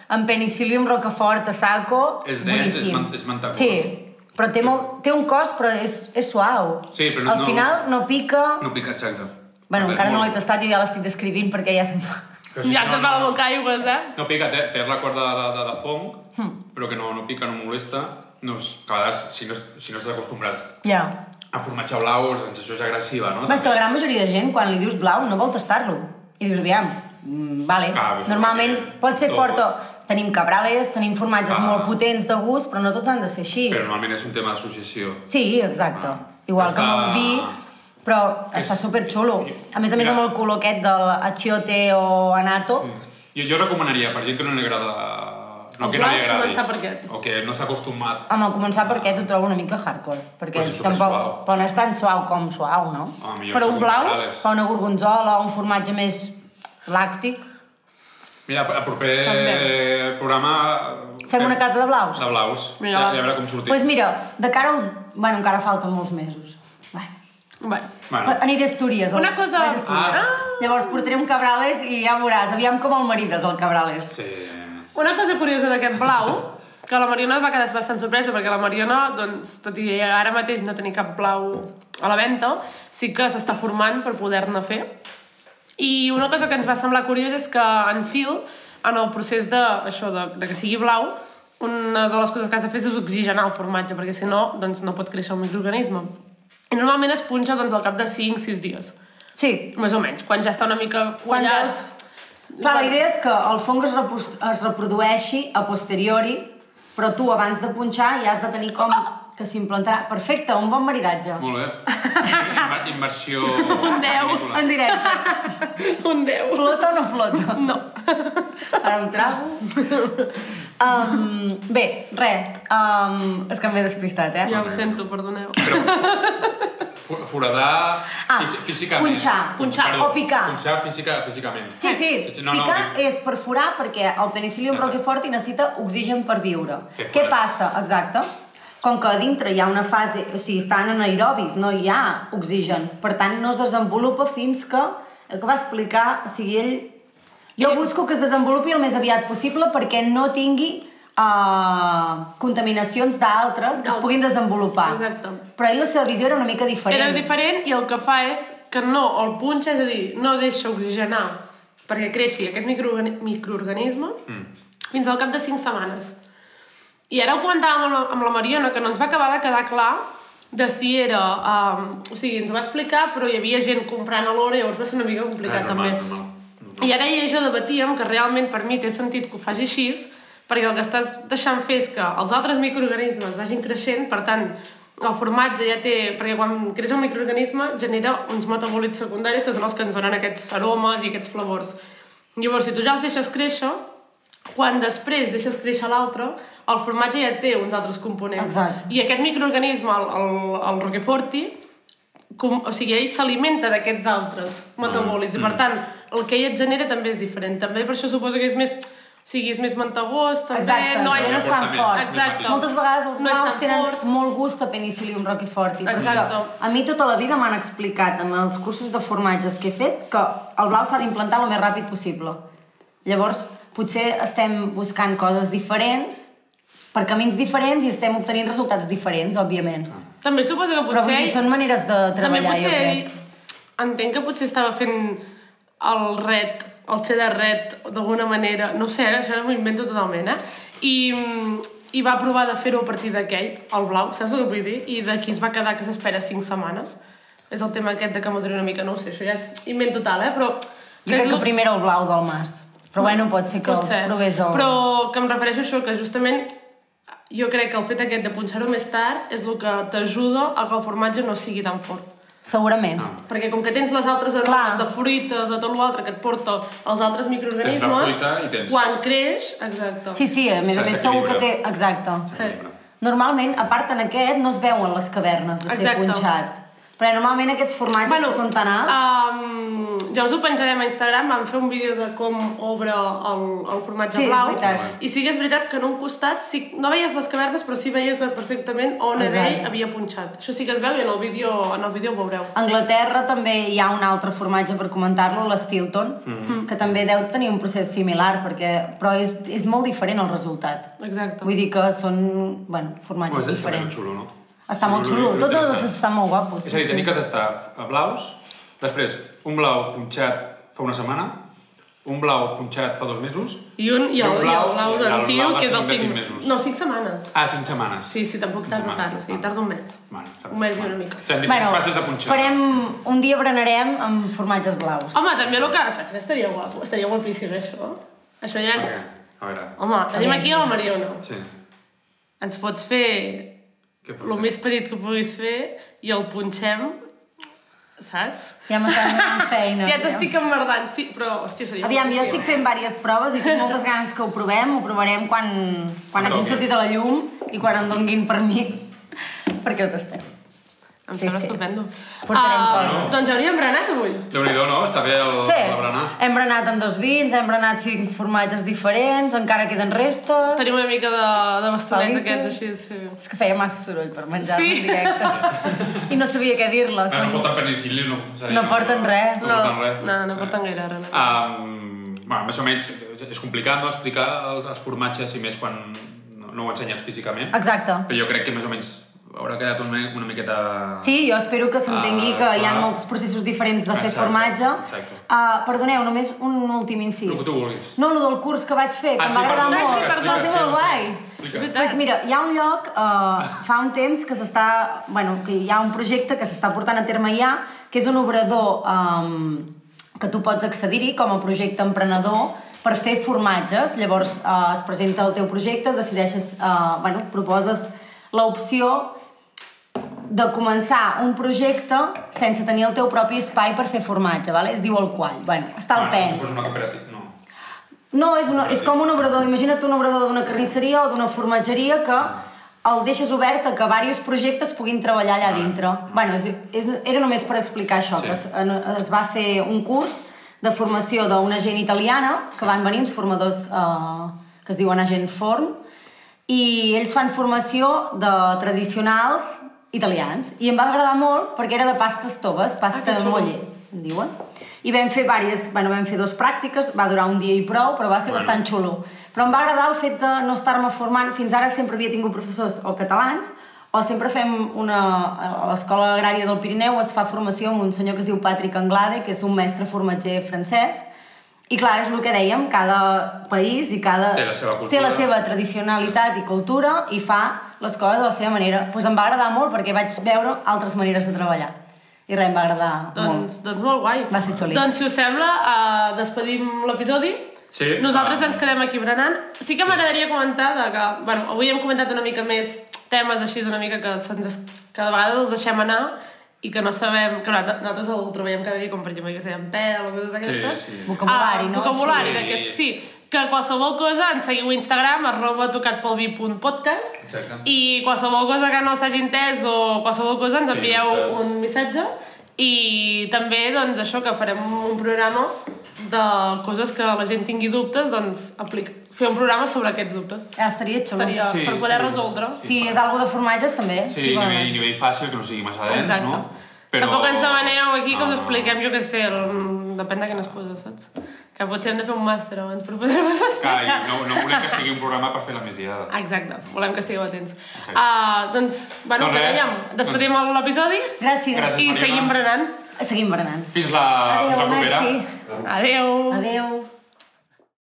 Speaker 3: amb penicil·lium, rocafort, a saco...
Speaker 1: És dens,
Speaker 3: boníssim.
Speaker 1: és man- és mantecós.
Speaker 3: Sí, però té, molt, té un cos, però és, és suau.
Speaker 1: Sí, però no-
Speaker 3: Al final no pica...
Speaker 1: No pica exacte.
Speaker 3: Bueno,
Speaker 1: Però
Speaker 3: encara no
Speaker 1: molt-
Speaker 3: l'he tastat i ja l'estic descrivint perquè ja se'm fa...
Speaker 1: Però sí,
Speaker 2: ja
Speaker 1: no,
Speaker 2: se't va
Speaker 1: no.
Speaker 2: la boca aigües, eh?
Speaker 1: No pica, té, té la corda de, de, de fong,
Speaker 3: Hmm.
Speaker 1: però que no, no pica, no molesta. No és, que a vegades, si no, es- si no estàs acostumbrat
Speaker 3: Ja.
Speaker 1: a formatge blau, la sensació és agressiva, no?
Speaker 3: Però és que la gran majoria de gent, quan li dius blau, no vol tastar-lo. I dius, aviam, mm, vale.
Speaker 1: Clar, però això
Speaker 3: Normalment
Speaker 1: perquè-
Speaker 3: pot ser
Speaker 1: tot.
Speaker 3: fort o... Tenim cabrales, tenim formatges
Speaker 1: Clar.
Speaker 3: molt potents de gust, però no tots han de ser així.
Speaker 1: Però normalment és un tema d'associació.
Speaker 3: Sí, exacte.
Speaker 1: Ah.
Speaker 3: Igual
Speaker 1: Però
Speaker 3: que amb el
Speaker 1: està-
Speaker 3: vi, però està superxulo. A més a més
Speaker 1: Mira.
Speaker 3: amb el color aquest del achiote o anato.
Speaker 1: Jo, jo recomanaria, per gent que no li agrada No,
Speaker 2: Els
Speaker 1: que no li
Speaker 2: blaus
Speaker 1: agradi.
Speaker 2: començar per aquest.
Speaker 1: O que no s'ha acostumat.
Speaker 3: Home, començar per aquest ho trobo una mica hardcore, perquè
Speaker 1: Però si és
Speaker 3: tampoc...
Speaker 1: supersuau.
Speaker 3: Però no és tan suau com suau, no?
Speaker 1: Home, millor
Speaker 2: Però un
Speaker 1: segur,
Speaker 2: blau?
Speaker 1: Morales.
Speaker 3: Fa una gorgonzola, un formatge més làctic.
Speaker 1: Mira, el proper
Speaker 2: També.
Speaker 1: programa...
Speaker 3: Fem una carta de blaus?
Speaker 1: De blaus.
Speaker 2: Mira,
Speaker 1: ja,
Speaker 2: va.
Speaker 1: ja veurà com
Speaker 3: Doncs
Speaker 1: sortim.
Speaker 3: pues mira, de cara a... un- Bueno, encara falten molts mesos. Bueno.
Speaker 2: Bueno.
Speaker 1: Bueno,
Speaker 3: Aniré a Astúries. el-
Speaker 2: Una cosa-
Speaker 3: Vaig a Astúries.
Speaker 1: Ah.
Speaker 3: Llavors portaré un Cabrales i ja veuràs. Aviam com el marides, el Cabrales.
Speaker 1: sí...
Speaker 2: Una cosa curiosa d'aquest blau, que la Mariona va quedar bastant sorpresa, perquè la Mariona, doncs, tot i ara mateix no tenir cap blau a la venda, sí que s'està formant per poder-ne fer. I una cosa que ens va semblar curiosa és que en Phil, en el procés de, això, de, de que sigui blau, una de les coses que has de fer és oxigenar el formatge, perquè si no, doncs, no pot créixer el microorganisme. I normalment es punxa doncs, al cap de 5-6 dies,
Speaker 3: Sí.
Speaker 2: més o menys, quan ja està una mica
Speaker 3: Quan
Speaker 2: quallat.
Speaker 3: veus- Clar, la idea és que el fong es, repos- es reprodueixi a posteriori, però tu abans de punxar ja has de tenir com que s'implantarà. Perfecte, un bon maridatge.
Speaker 1: Molt bé. Inver- Inversió... Un
Speaker 2: deu.
Speaker 3: En directe.
Speaker 2: Un 10.
Speaker 3: Flota o no flota?
Speaker 2: No.
Speaker 3: Ara un trago. Um, bé, res. Um, és que m'he despistat, eh?
Speaker 2: Ja ho sento, perdoneu.
Speaker 1: Foradar
Speaker 3: Ah,
Speaker 1: fís- físicament.
Speaker 3: punxar,
Speaker 2: punxar
Speaker 1: Perdó,
Speaker 3: o picar.
Speaker 1: Punxar física, físicament.
Speaker 3: Sí, sí,
Speaker 1: No, no,
Speaker 3: picar
Speaker 1: dic-
Speaker 3: és perforar perquè el penicillium
Speaker 1: Exacte.
Speaker 3: roquefort necessita oxigen per viure.
Speaker 1: Fer
Speaker 3: Què
Speaker 1: forats.
Speaker 3: passa? Exacte. Com que a dintre hi ha una fase... O sigui, estan anaerobis, no hi ha oxigen. Per tant, no es desenvolupa fins que... El que va explicar... O sigui, ell... Jo busco que es desenvolupi el més aviat possible perquè no tingui uh, contaminacions d'altres que es puguin desenvolupar.
Speaker 2: Exacte.
Speaker 3: Però ell la seva visió era una mica diferent.
Speaker 2: Era diferent i el que fa és que no el punxa, és a dir, no deixa oxigenar perquè creixi aquest microorgani- microorganisme mm. fins al cap de 5 setmanes. I ara ho comentàvem amb la, amb la Mariona, que no ens va acabar de quedar clar de si era... Um, o sigui, ens ho va explicar, però hi havia gent comprant a l'hora, llavors va ser una mica complicat
Speaker 1: Ah,
Speaker 2: també.
Speaker 1: normal, normal.
Speaker 2: I ara ella i jo debatíem que realment per mi té sentit que ho faci així, perquè el que estàs deixant fer és que els altres microorganismes vagin creixent, per tant, el formatge ja té... Perquè quan creix el microorganisme genera uns metabòlits secundaris que són els que ens donen aquests aromes i aquests flavors. Llavors, si tu ja els deixes créixer, quan després deixes créixer l'altre, el formatge ja té uns altres components.
Speaker 3: Exacte.
Speaker 2: I aquest microorganisme, el, el, el roqueforti, com, o sigui, ell s'alimenta d'aquests altres metabòlits, i per tant, el que ell et genera també és diferent. També per això suposo que és més, o sigui, és més mantagós, també,
Speaker 3: Exacte,
Speaker 2: no
Speaker 1: és
Speaker 2: és...
Speaker 3: no és tan
Speaker 1: Aporta més,
Speaker 3: fort.
Speaker 1: més
Speaker 2: Exacte.
Speaker 1: matís.
Speaker 3: Moltes vegades els
Speaker 2: No és tan
Speaker 3: blaus tenen
Speaker 2: fort.
Speaker 3: molt gust a penicillium roquefort.
Speaker 2: Exacte.
Speaker 3: A mi tota la vida m'han explicat en els cursos de formatges que he fet que el blau s'ha d'implantar el més ràpid possible. Llavors, potser estem buscant coses diferents, per camins diferents i estem obtenint resultats diferents, òbviament.
Speaker 2: També suposo que
Speaker 3: Però
Speaker 2: potser
Speaker 3: vull dir, són maneres de
Speaker 2: també
Speaker 3: treballar, jo
Speaker 2: potser
Speaker 3: crec.
Speaker 2: entenc que potser estava fent el red, el cheddar red, d'alguna manera, no ho sé, eh, això m'ho invento totalment, eh? I, i va provar de fer-ho a partir d'aquell, el blau, saps el que vull dir? I d'aquí es va quedar que s'espera 5 setmanes. És el tema aquest de que m'ho una mica, no ho sé, això ja és invent total, eh? Però
Speaker 3: Jo crec
Speaker 2: és
Speaker 3: que
Speaker 2: el-
Speaker 3: primer el blau del mas. Però bueno, pot ser que
Speaker 2: Pot
Speaker 3: els
Speaker 2: ser.
Speaker 3: provés el...
Speaker 2: Mm, Però que em refereixo a això, que justament jo crec que el fet aquest de punxar-ho més tard és el que t'ajuda a que el formatge no sigui tan fort.
Speaker 3: Segurament.
Speaker 2: Perquè com que tens les altres aromes
Speaker 3: Clar.
Speaker 2: de fruita, de tot l'altre que et porta els altres microorganismes...
Speaker 1: Tens la fruita i tens-
Speaker 2: Quan creix, exacte.
Speaker 3: Sí, sí, a més a
Speaker 1: Sense
Speaker 3: més segur que té...
Speaker 1: equilibri.
Speaker 3: Exacte.
Speaker 1: Equilibri.
Speaker 3: Normalment, a part en aquest, no es veuen les cavernes de ser
Speaker 2: Exacte. ah.
Speaker 3: punxat. Però normalment aquests formatges bueno, que són tan alts...
Speaker 2: Um, ja us ho penjarem a Instagram, vam fer un vídeo de com obre el, el formatge
Speaker 3: Sí, és
Speaker 2: blau.
Speaker 3: veritat.
Speaker 2: I sí que és veritat que en un costat sí, no veies les cavernes, però sí veies perfectament on
Speaker 3: Exacte.
Speaker 2: ell havia punxat. Això sí que es veu i en el vídeo, en el vídeo ho veureu.
Speaker 3: A Anglaterra també hi ha un altre formatge per comentar-lo, l'Stilton, mm
Speaker 2: Mm-hmm.
Speaker 3: -hmm. que també deu tenir un procés similar, perquè, però és, és molt diferent el resultat.
Speaker 2: Exacte.
Speaker 3: Vull dir que són bueno,
Speaker 1: Pues
Speaker 3: formatges
Speaker 1: està ben
Speaker 3: diferents.
Speaker 1: xulo, no?
Speaker 3: Està molt xulo. Tot, tot, tot està molt guapo.
Speaker 1: És a dir, tenim que tastar a blaus, després un blau punxat fa una setmana, un blau punxat fa dos mesos,
Speaker 2: I un, i el, i el
Speaker 1: i
Speaker 2: blau
Speaker 1: el blau
Speaker 2: d'antiu,
Speaker 1: de
Speaker 2: que és el
Speaker 1: cinc- de
Speaker 2: 5...
Speaker 1: cinc mesos.
Speaker 2: No, 5 setmanes.
Speaker 1: ah, cinc setmanes.
Speaker 2: Sí, sí, tampoc
Speaker 1: Cinc
Speaker 2: tarda
Speaker 1: setmanes.
Speaker 2: tant, o sigui,
Speaker 1: Ah.
Speaker 2: tarda un mes.
Speaker 1: Bueno, està
Speaker 2: Un mes i
Speaker 1: bé.
Speaker 2: una mica.
Speaker 1: O sigui, en diferents fases de punxar.
Speaker 3: farem... Un dia berenarem amb formatges blaus.
Speaker 2: Home, també el que... Saps que estaria guapo? Estaria guapíssim, això. Això ja és...
Speaker 1: A veure,
Speaker 2: Home, tenim aquí el Mariona.
Speaker 1: sí.
Speaker 2: Ens pots fer
Speaker 1: Què pot
Speaker 2: el
Speaker 1: fer?
Speaker 2: més petit que puguis fer i el punxem saps?
Speaker 3: Ja m'està donant feina.
Speaker 2: ja t'estic emmerdant, sí, però, hòstia, seria...
Speaker 3: Aviam, jo
Speaker 2: boníssim.
Speaker 3: estic fent diverses proves i tinc moltes ganes que ho provem, ho provarem quan, quan hagin
Speaker 1: Toqui.
Speaker 3: sortit a la llum i quan em donguin permís perquè ho tastem.
Speaker 2: eh? Em
Speaker 3: Sí,
Speaker 2: sembla
Speaker 3: sí.
Speaker 2: estupendo.
Speaker 3: Portarem
Speaker 2: Ah,
Speaker 3: coses.
Speaker 2: Doncs hauríem berenat avui.
Speaker 1: Déu-n'hi-do, no? Està bé el,
Speaker 3: Sí,
Speaker 1: la berenar.
Speaker 3: hem berenat amb dos vins, hem berenat cinc formatges diferents, encara queden restes...
Speaker 2: Tenim una mica de, de bastonets
Speaker 3: Palitos.
Speaker 2: aquests, així, sí.
Speaker 3: És que feia massa soroll per menjar
Speaker 2: Sí.
Speaker 3: en directe. I no sabia què dir-la.
Speaker 1: Ah, no
Speaker 3: som-
Speaker 1: porten penicil·lis, no. És a dir,
Speaker 3: No porten res.
Speaker 1: No, porten res.
Speaker 2: no, no porten gaire ara. No.
Speaker 1: Um, bueno, més o menys és- és complicat no, explicar els, els formatges i més quan no, no ho ensenyes físicament.
Speaker 3: Exacte.
Speaker 1: Però jo crec que més o menys haurà quedat una, una miqueta...
Speaker 3: Sí, jo espero que s'entengui
Speaker 1: Ah,
Speaker 3: que hi ha
Speaker 1: clar.
Speaker 3: molts processos diferents de fer
Speaker 1: Exacte,
Speaker 3: formatge.
Speaker 1: exacte.
Speaker 3: Uh, perdoneu, només un últim incís.
Speaker 1: El que tu vulguis.
Speaker 3: No, el del curs que vaig fer, que
Speaker 1: Ah,
Speaker 3: em
Speaker 1: sí,
Speaker 3: va agradar
Speaker 1: perdó,
Speaker 3: molt.
Speaker 2: explica,
Speaker 3: va ser
Speaker 1: explica,
Speaker 3: molt
Speaker 1: sí,
Speaker 3: guai.
Speaker 1: sí, explica.
Speaker 3: Doncs pues mira, hi ha un lloc, uh, fa un temps, que s'està... Bueno, que hi ha un projecte que s'està portant a terme ja, que és un obrador um, que tu pots accedir-hi com a projecte emprenedor per fer formatges. Llavors uh, es presenta el teu projecte, decideixes... Uh, bueno, proposes l'opció de començar un projecte sense tenir el teu propi espai per fer formatge, vale? es diu el quall. Bueno, està al
Speaker 1: Bueno,
Speaker 3: pens.
Speaker 1: suposo una cooperativa, no.
Speaker 3: No, és, una, és com un obrador. Imagina't un obrador d'una carnisseria o d'una formatgeria que el deixes obert a que diversos projectes puguin treballar allà dintre. bueno, és, és, era només per explicar això,
Speaker 1: Sí.
Speaker 3: que es, en, es va fer un curs de formació d'una gent italiana, que van venir uns formadors eh, que es diuen Agent Forn, i ells fan formació de tradicionals italians. I em va agradar molt perquè era de pastes toves, pasta
Speaker 2: que
Speaker 3: ah,
Speaker 2: xulo.
Speaker 3: molle, en diuen. I vam fer diverses, bueno, vam fer dues pràctiques, va durar un dia i prou, però va ser
Speaker 1: Bueno.
Speaker 3: bueno. bastant xulo. Però em va agradar el fet de no estar-me formant, fins ara sempre havia tingut professors o catalans, o sempre fem una... A l'Escola Agrària del Pirineu es fa formació amb un senyor que es diu Patrick Anglade, que és un mestre formatger francès, i clar, és el que dèiem, cada país i cada...
Speaker 1: Té la seva
Speaker 3: Té la
Speaker 1: cultura.
Speaker 3: seva tradicionalitat i cultura i fa les coses de la seva manera. Doncs pues em va agradar molt perquè vaig veure altres maneres de treballar. I res, em va agradar molt.
Speaker 2: Doncs, doncs molt guai.
Speaker 3: Va ser xuli.
Speaker 2: Doncs, si us sembla, uh, despedim l'episodi.
Speaker 1: Sí.
Speaker 2: Nosaltres
Speaker 1: Ah.
Speaker 2: ens quedem aquí berenant. Sí que m'agradaria comentar de que... Bueno, avui hem comentat una mica més temes així, una mica que, se'ns, que de vegades els deixem anar i que no sabem... Que nosaltres, nosaltres el trobem cada dia, com per exemple, jo que sé, en pèl o coses d'aquestes.
Speaker 1: sí.
Speaker 2: Ah,
Speaker 3: Vocabulari, no?
Speaker 2: Vocabulari
Speaker 1: Sí.
Speaker 2: d'aquests, sí. Que qualsevol cosa ens seguiu a Instagram, arroba tocatpelvi.podcast
Speaker 1: Exacte.
Speaker 2: i qualsevol cosa que no s'hagi entès o qualsevol cosa ens
Speaker 1: Sí,
Speaker 2: envieu
Speaker 1: entès.
Speaker 2: un missatge i també doncs això que farem un programa de coses que la gent tingui dubtes doncs aplica, fer un programa sobre aquests dubtes
Speaker 3: Ah, estaria xulo.
Speaker 2: Estaria
Speaker 1: Sí,
Speaker 2: per poder
Speaker 1: sí.
Speaker 2: resoldre
Speaker 1: Sí.
Speaker 3: Si és algo de formatges, també.
Speaker 1: Sí, nivell,
Speaker 3: segurament.
Speaker 1: nivell fàcil, que no sigui massa dens,
Speaker 2: Exacte.
Speaker 1: no?
Speaker 2: Tampoc ens demaneu aquí que
Speaker 1: No,
Speaker 2: us
Speaker 1: no, no.
Speaker 2: expliquem, jo què sé, el... depèn de quines coses, saps? Que potser hem de fer un màster abans per poder-vos explicar.
Speaker 1: Clar, i no, no volem que sigui un programa per fer la migdiada.
Speaker 2: Exacte, volem que estigueu atents.
Speaker 1: Exacte.
Speaker 2: Uh, doncs, bueno,
Speaker 1: Doncs
Speaker 2: que
Speaker 1: res, doncs-
Speaker 2: dèiem, despedim l'episodi
Speaker 3: Gràcies.
Speaker 1: Gràcies.
Speaker 2: i
Speaker 1: Mariona.
Speaker 2: seguim berenant.
Speaker 3: Seguim berenant.
Speaker 1: Ah, Fins la, fins la
Speaker 3: Adéu,
Speaker 1: propera.
Speaker 3: merci.
Speaker 2: Adeu!
Speaker 3: Adéu.